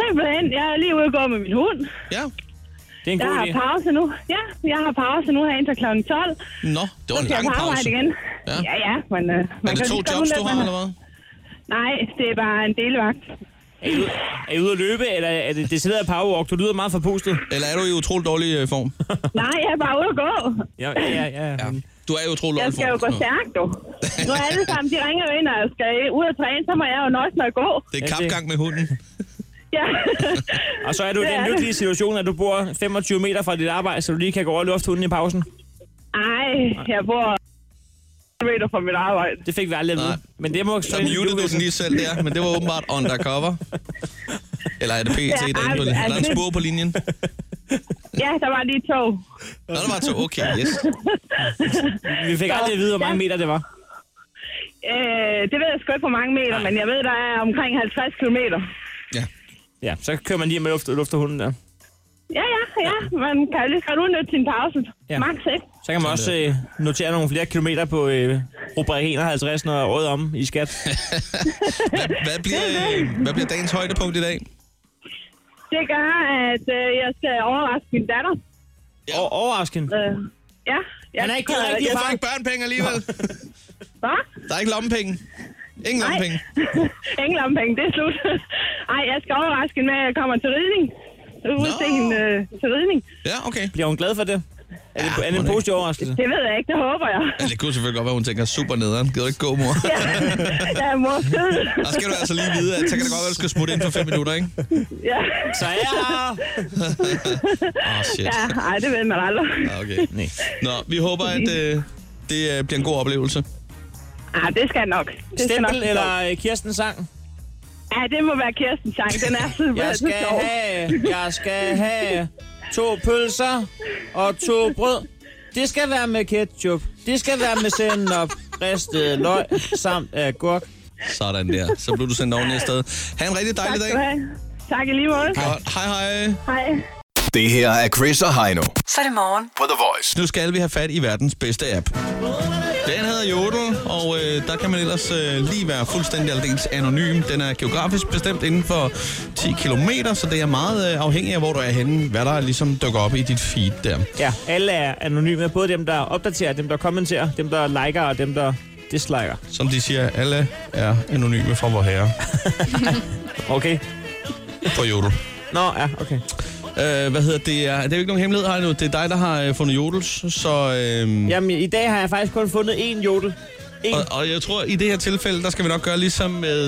Speaker 8: Simpelthen, jeg er lige ude og gå med min hund.
Speaker 2: Ja.
Speaker 3: Det er en
Speaker 8: Jeg
Speaker 3: god
Speaker 8: har
Speaker 3: idé.
Speaker 8: pause nu. Ja, jeg har pause nu her indtil kl. 12.
Speaker 2: Nå, det var
Speaker 8: Så
Speaker 2: en
Speaker 8: skal jeg
Speaker 2: lang
Speaker 8: på arbejde
Speaker 2: pause.
Speaker 8: igen. Ja, ja, men... Øh,
Speaker 2: Er det
Speaker 8: kan
Speaker 2: Altså, to
Speaker 8: lige så
Speaker 2: jobs,
Speaker 8: godt
Speaker 2: du
Speaker 8: undlade,
Speaker 2: har,
Speaker 8: man-
Speaker 2: eller hvad?
Speaker 8: Nej, det er bare en delvagt.
Speaker 3: Er I, ude- er I ude at løbe, eller er det decideret powerwalk? Du lyder meget forpustet.
Speaker 2: Eller er du i utrolig dårlig øh, form?
Speaker 8: Nej, jeg er bare ude at gå.
Speaker 3: Ja, ja, ja. ja. men-
Speaker 2: Du er i utrolig
Speaker 8: Jeg
Speaker 2: dårlig
Speaker 8: skal
Speaker 2: form.
Speaker 8: jo gå
Speaker 2: Nå.
Speaker 8: stærkt, du. Nu er alle sammen, de ringer jo ind, og skal ud og træne, så må jeg jo nøjes med at gå.
Speaker 2: Det er kapgang med hunden.
Speaker 8: Ja.
Speaker 3: Og så er du i
Speaker 8: Det er
Speaker 3: den
Speaker 8: det.
Speaker 3: lykkelige situation, at du bor 25 meter fra dit arbejde, så du lige kan gå over og lufte hunden i pausen.
Speaker 8: Ej, jeg bor meter fra mit arbejde.
Speaker 3: Det fik vi aldrig at vide. Men det må
Speaker 2: Så mutede du den lige selv der, men det var åbenbart undercover. Eller er det E PT, der er inde på
Speaker 12: Ja,
Speaker 2: linjen? Er der en
Speaker 12: altså-
Speaker 2: spur på linjen?
Speaker 12: Ja, der var lige to.
Speaker 2: Nå, der var to. Okay, yes.
Speaker 3: Vi fik aldrig at vide, hvor mange meter det var.
Speaker 12: Øh, det ved jeg sgu ikke, hvor mange meter, men jeg ved, der er omkring 50 kilometer.
Speaker 3: Ja, så kører man lige med luft, lufter hunden der.
Speaker 12: Ja, ja, ja. Man kan jo lige så godt udnytte sin pause.
Speaker 3: Ja.
Speaker 12: Ja. Max, ikke?
Speaker 3: Så kan man også øh, notere nogle flere kilometer på øh, rubrik 51, når året er om i skat.
Speaker 2: Hvad bliver, øh, hvad bliver dagens højdepunkt i dag?
Speaker 12: Det gør, at øh, jeg skal overraske min datter.
Speaker 3: Ja. Og overrasken.
Speaker 12: Øh, ja. Jeg,
Speaker 3: Han er ikke givet
Speaker 12: jeg-
Speaker 3: rigtig
Speaker 12: jeg-
Speaker 2: Du får ikke børnepenge alligevel.
Speaker 12: Hva?
Speaker 2: Der er ikke lommepenge. Ingen lommepenge.
Speaker 12: Ingen lommepenge, det er slut. Ej, jeg skal overraske hende med, at jeg kommer til ridning. Udstikke hende øh, til ridning.
Speaker 2: Ja, okay.
Speaker 3: Bliver hun glad for det? Er det, ja, er det en positiv overraskelse?
Speaker 12: Det ved jeg ikke, det håber jeg.
Speaker 2: Altså, det kunne selvfølgelig godt være, hun tænker super nederen. Gider du ikke gå, mor?
Speaker 12: Ja, ja mor, skød.
Speaker 2: Der skal du altså lige vide, at så kan det godt være, at du skal smutte ind for fem minutter, ikke?
Speaker 12: Ja.
Speaker 3: Så er jeg her.
Speaker 2: Åh, oh, shit.
Speaker 12: Ja, ej, det ved man aldrig.
Speaker 2: Ah, Okay. Nå, vi håber, at øh, det øh, bliver en god oplevelse.
Speaker 12: Ah, det skal nok. Det skal nok.
Speaker 3: Stempel eller øh, Kirsten sang?
Speaker 12: Ja, det må være Kirsten sang. Den er simpelthen
Speaker 3: Jeg skal
Speaker 12: så sjov.
Speaker 3: have, jeg skal have to pølser og to brød. Det skal være med ketchup. Det skal være med sennep, ristet løg samt agurk.
Speaker 2: Sådan der. Så blev du sendt oven i afsted. Ha' en rigtig dejlig
Speaker 12: tak
Speaker 2: dag.
Speaker 12: skal du have. Tak i lige måde.
Speaker 2: Godt. Hej hej.
Speaker 12: Hej.
Speaker 6: Det her er Chris og Heino
Speaker 4: Så er det morgen.
Speaker 6: på The Voice.
Speaker 2: Nu skal vi have fat i verdens bedste app. Den hedder Jodel, og øh, der kan man ellers øh, lige være fuldstændig aldeles anonym. Den er geografisk bestemt inden for 10 km, så det er meget øh, afhængigt af, hvor du er henne, hvad der ligesom dukker op i dit feed der.
Speaker 3: Ja, alle er anonyme. Både dem, der opdaterer, dem, der kommenterer, dem, der liker og dem, der disliker.
Speaker 2: Som de siger, alle er anonyme fra vor herre
Speaker 3: Okay?
Speaker 2: på Jodel.
Speaker 3: Nå, ja, okay.
Speaker 2: Øh, hvad hedder det? Er- Det er jo ikke nogen hemmelighed her nu. Det er dig, der har øh, fundet Jodels, så... Øh,
Speaker 3: Jamen, i dag har jeg faktisk kun fundet én jodel. En.
Speaker 2: Og, og jeg tror, i det her tilfælde, der skal vi nok gøre ligesom med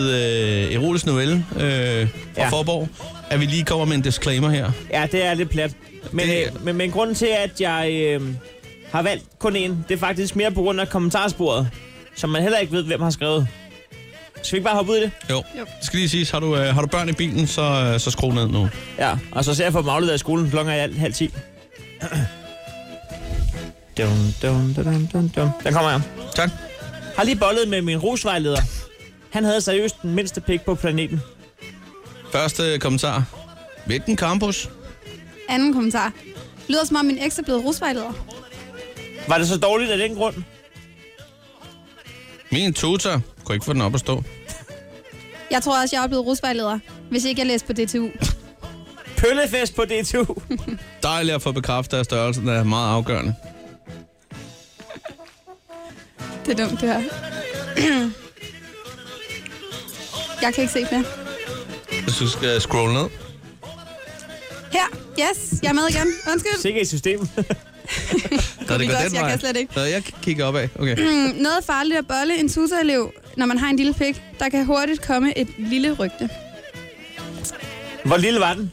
Speaker 2: øh, Erotisk Novelle øh, fra
Speaker 3: Ja.
Speaker 2: ja. Forborg, at vi lige kommer med en disclaimer her.
Speaker 3: Ja, det er lidt plat. Men,
Speaker 2: Det-
Speaker 3: øh, men, men grunden til, at jeg øh, har valgt kun en, det er faktisk mere på grund af kommentarsporet, som man heller ikke ved, hvem har skrevet. Skal vi ikke bare hoppe ud i det?
Speaker 2: Jo, jo. skal lige siges, har du, øh, har du børn i bilen, så, øh, så skru ned nu.
Speaker 3: Ja, og så ser jeg for dem afleveret i skolen klokken er i alt halv ti. dum, dum, dum, dum, dum, dum. Der kommer jeg.
Speaker 2: Tak.
Speaker 3: Har lige bollet med min rusvejleder. Han havde seriøst den mindste pik på planeten.
Speaker 2: Første kommentar. Hvilken campus?
Speaker 5: Anden kommentar. Lyder som om min eks er blevet rusvejleder.
Speaker 3: Var det så dårligt af den grund?
Speaker 2: Min tutor. Kunne ikke få den op at stå.
Speaker 5: Jeg tror også, jeg er blevet rusvejleder, hvis ikke jeg læste på DTU.
Speaker 3: Pøllefest på DTU.
Speaker 2: Dejligt at få bekræftet, at størrelsen er meget afgørende.
Speaker 5: Det er dumt, det her. jeg kan ikke se mere.
Speaker 2: Hvis du skal scrolle ned.
Speaker 5: Her. Yes, jeg er med igen. Undskyld.
Speaker 3: Sikke i systemet.
Speaker 2: Nå,
Speaker 5: vi
Speaker 2: det går
Speaker 5: godt,
Speaker 2: den
Speaker 5: jeg
Speaker 2: vej.
Speaker 5: kan slet ikke.
Speaker 2: Nå, jeg kigger opad. Okay.
Speaker 5: Noget farligt at bolle en tutorelev, når man har en lille pik. Der kan hurtigt komme et lille rygte.
Speaker 3: Hvor lille var den?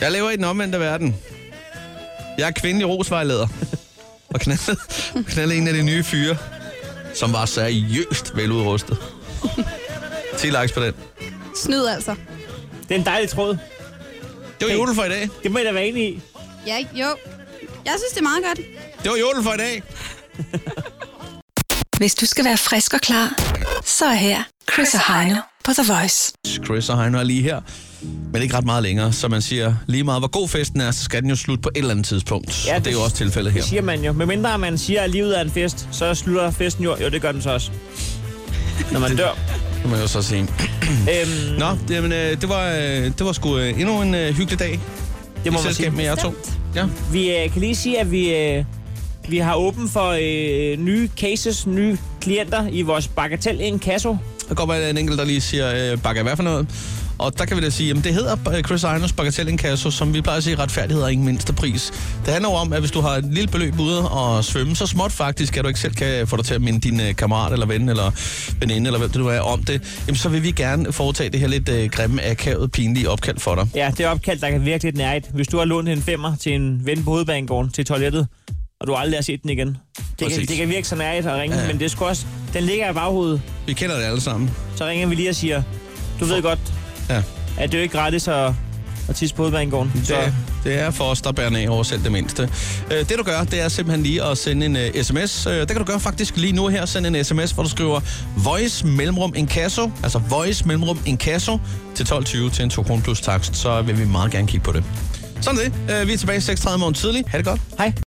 Speaker 2: Jeg lever i den omvendte verden. Jeg er kvindelig rosvejleder. Og knaldede, knaldede en af de nye fyre, som var seriøst veludrustet. 10 likes på den.
Speaker 5: Snyd altså.
Speaker 3: Det er en dejlig tråd.
Speaker 2: Det var jodel for i dag.
Speaker 3: Det må jeg da være enig i.
Speaker 5: Ja, jo. Jeg synes, det er meget godt.
Speaker 2: Det var jodel for i dag.
Speaker 4: Hvis du skal være frisk og klar, så er her Chris og Heino på The Voice.
Speaker 2: Chris og Heino er lige her, men ikke ret meget længere. Så man siger, lige meget hvor god festen er, så skal den jo slutte på et eller andet tidspunkt. Ja, det, det er jo også tilfældet her.
Speaker 3: Det siger man jo. Men mindre man siger, at livet er en fest, så slutter festen jo. Jo, det gør den så også. Når man dør.
Speaker 2: Det må jeg jo så sige.
Speaker 3: Øhm,
Speaker 2: Nå, det, jamen, øh, det, var, øh, det var sgu øh, endnu en øh, hyggelig dag.
Speaker 3: det må
Speaker 2: I
Speaker 3: man sige.
Speaker 2: selskab med jer to. Ja.
Speaker 3: Vi øh, kan lige sige, at vi, øh, vi har åben for øh, nye cases, nye klienter i vores bagatel Inkasso.
Speaker 2: Der kommer en enkelt, der lige siger, øh, bakker hvad for noget? Og der kan vi da sige, at det hedder øh, Chris Einos Bagatell Inkasso, som vi plejer at sige, retfærdighed er ingen mindste pris. Det handler jo om, at hvis du har et lille beløb ude og svømme, så småt faktisk, at du ikke selv kan få dig til at minde din øh, kammerat eller ven eller veninde eller hvem det nu er om det, jamen så vil vi gerne foretage det her lidt øh, grimme, akavet, pinlige opkald for dig.
Speaker 3: Ja, det er opkald, der kan virke lidt nært. Hvis du har lånt en femmer til en ven på hovedbanegården til toilettet, og du aldrig har set den igen. Det kan,
Speaker 2: Præcis.
Speaker 3: det kan virke så nært at ringe,
Speaker 2: Ja,
Speaker 3: ja.
Speaker 2: ja.
Speaker 3: men det skal også... Den ligger i baghovedet.
Speaker 2: Vi kender det alle sammen.
Speaker 3: Så ringer vi lige og siger, du ved godt,
Speaker 2: Ja.
Speaker 3: At det er jo ikke gratis at, at tisse på hovedbanegården. Så
Speaker 2: Det, det er for os, der bærer af over selv det mindste. Øh, Det du gør, det er simpelthen lige at sende en øh, sms. Øh, Det kan du gøre faktisk lige nu her. Send en sms, hvor du skriver voice mellemrum inkasso, altså voice mellemrum inkasso til 12.20 til en 2 kroner plus takst. Så vil vi meget gerne kigge på det. Sådan er det. Øh, Vi er tilbage 6.30 morgen tidlig. Ha' det godt.
Speaker 3: Hej.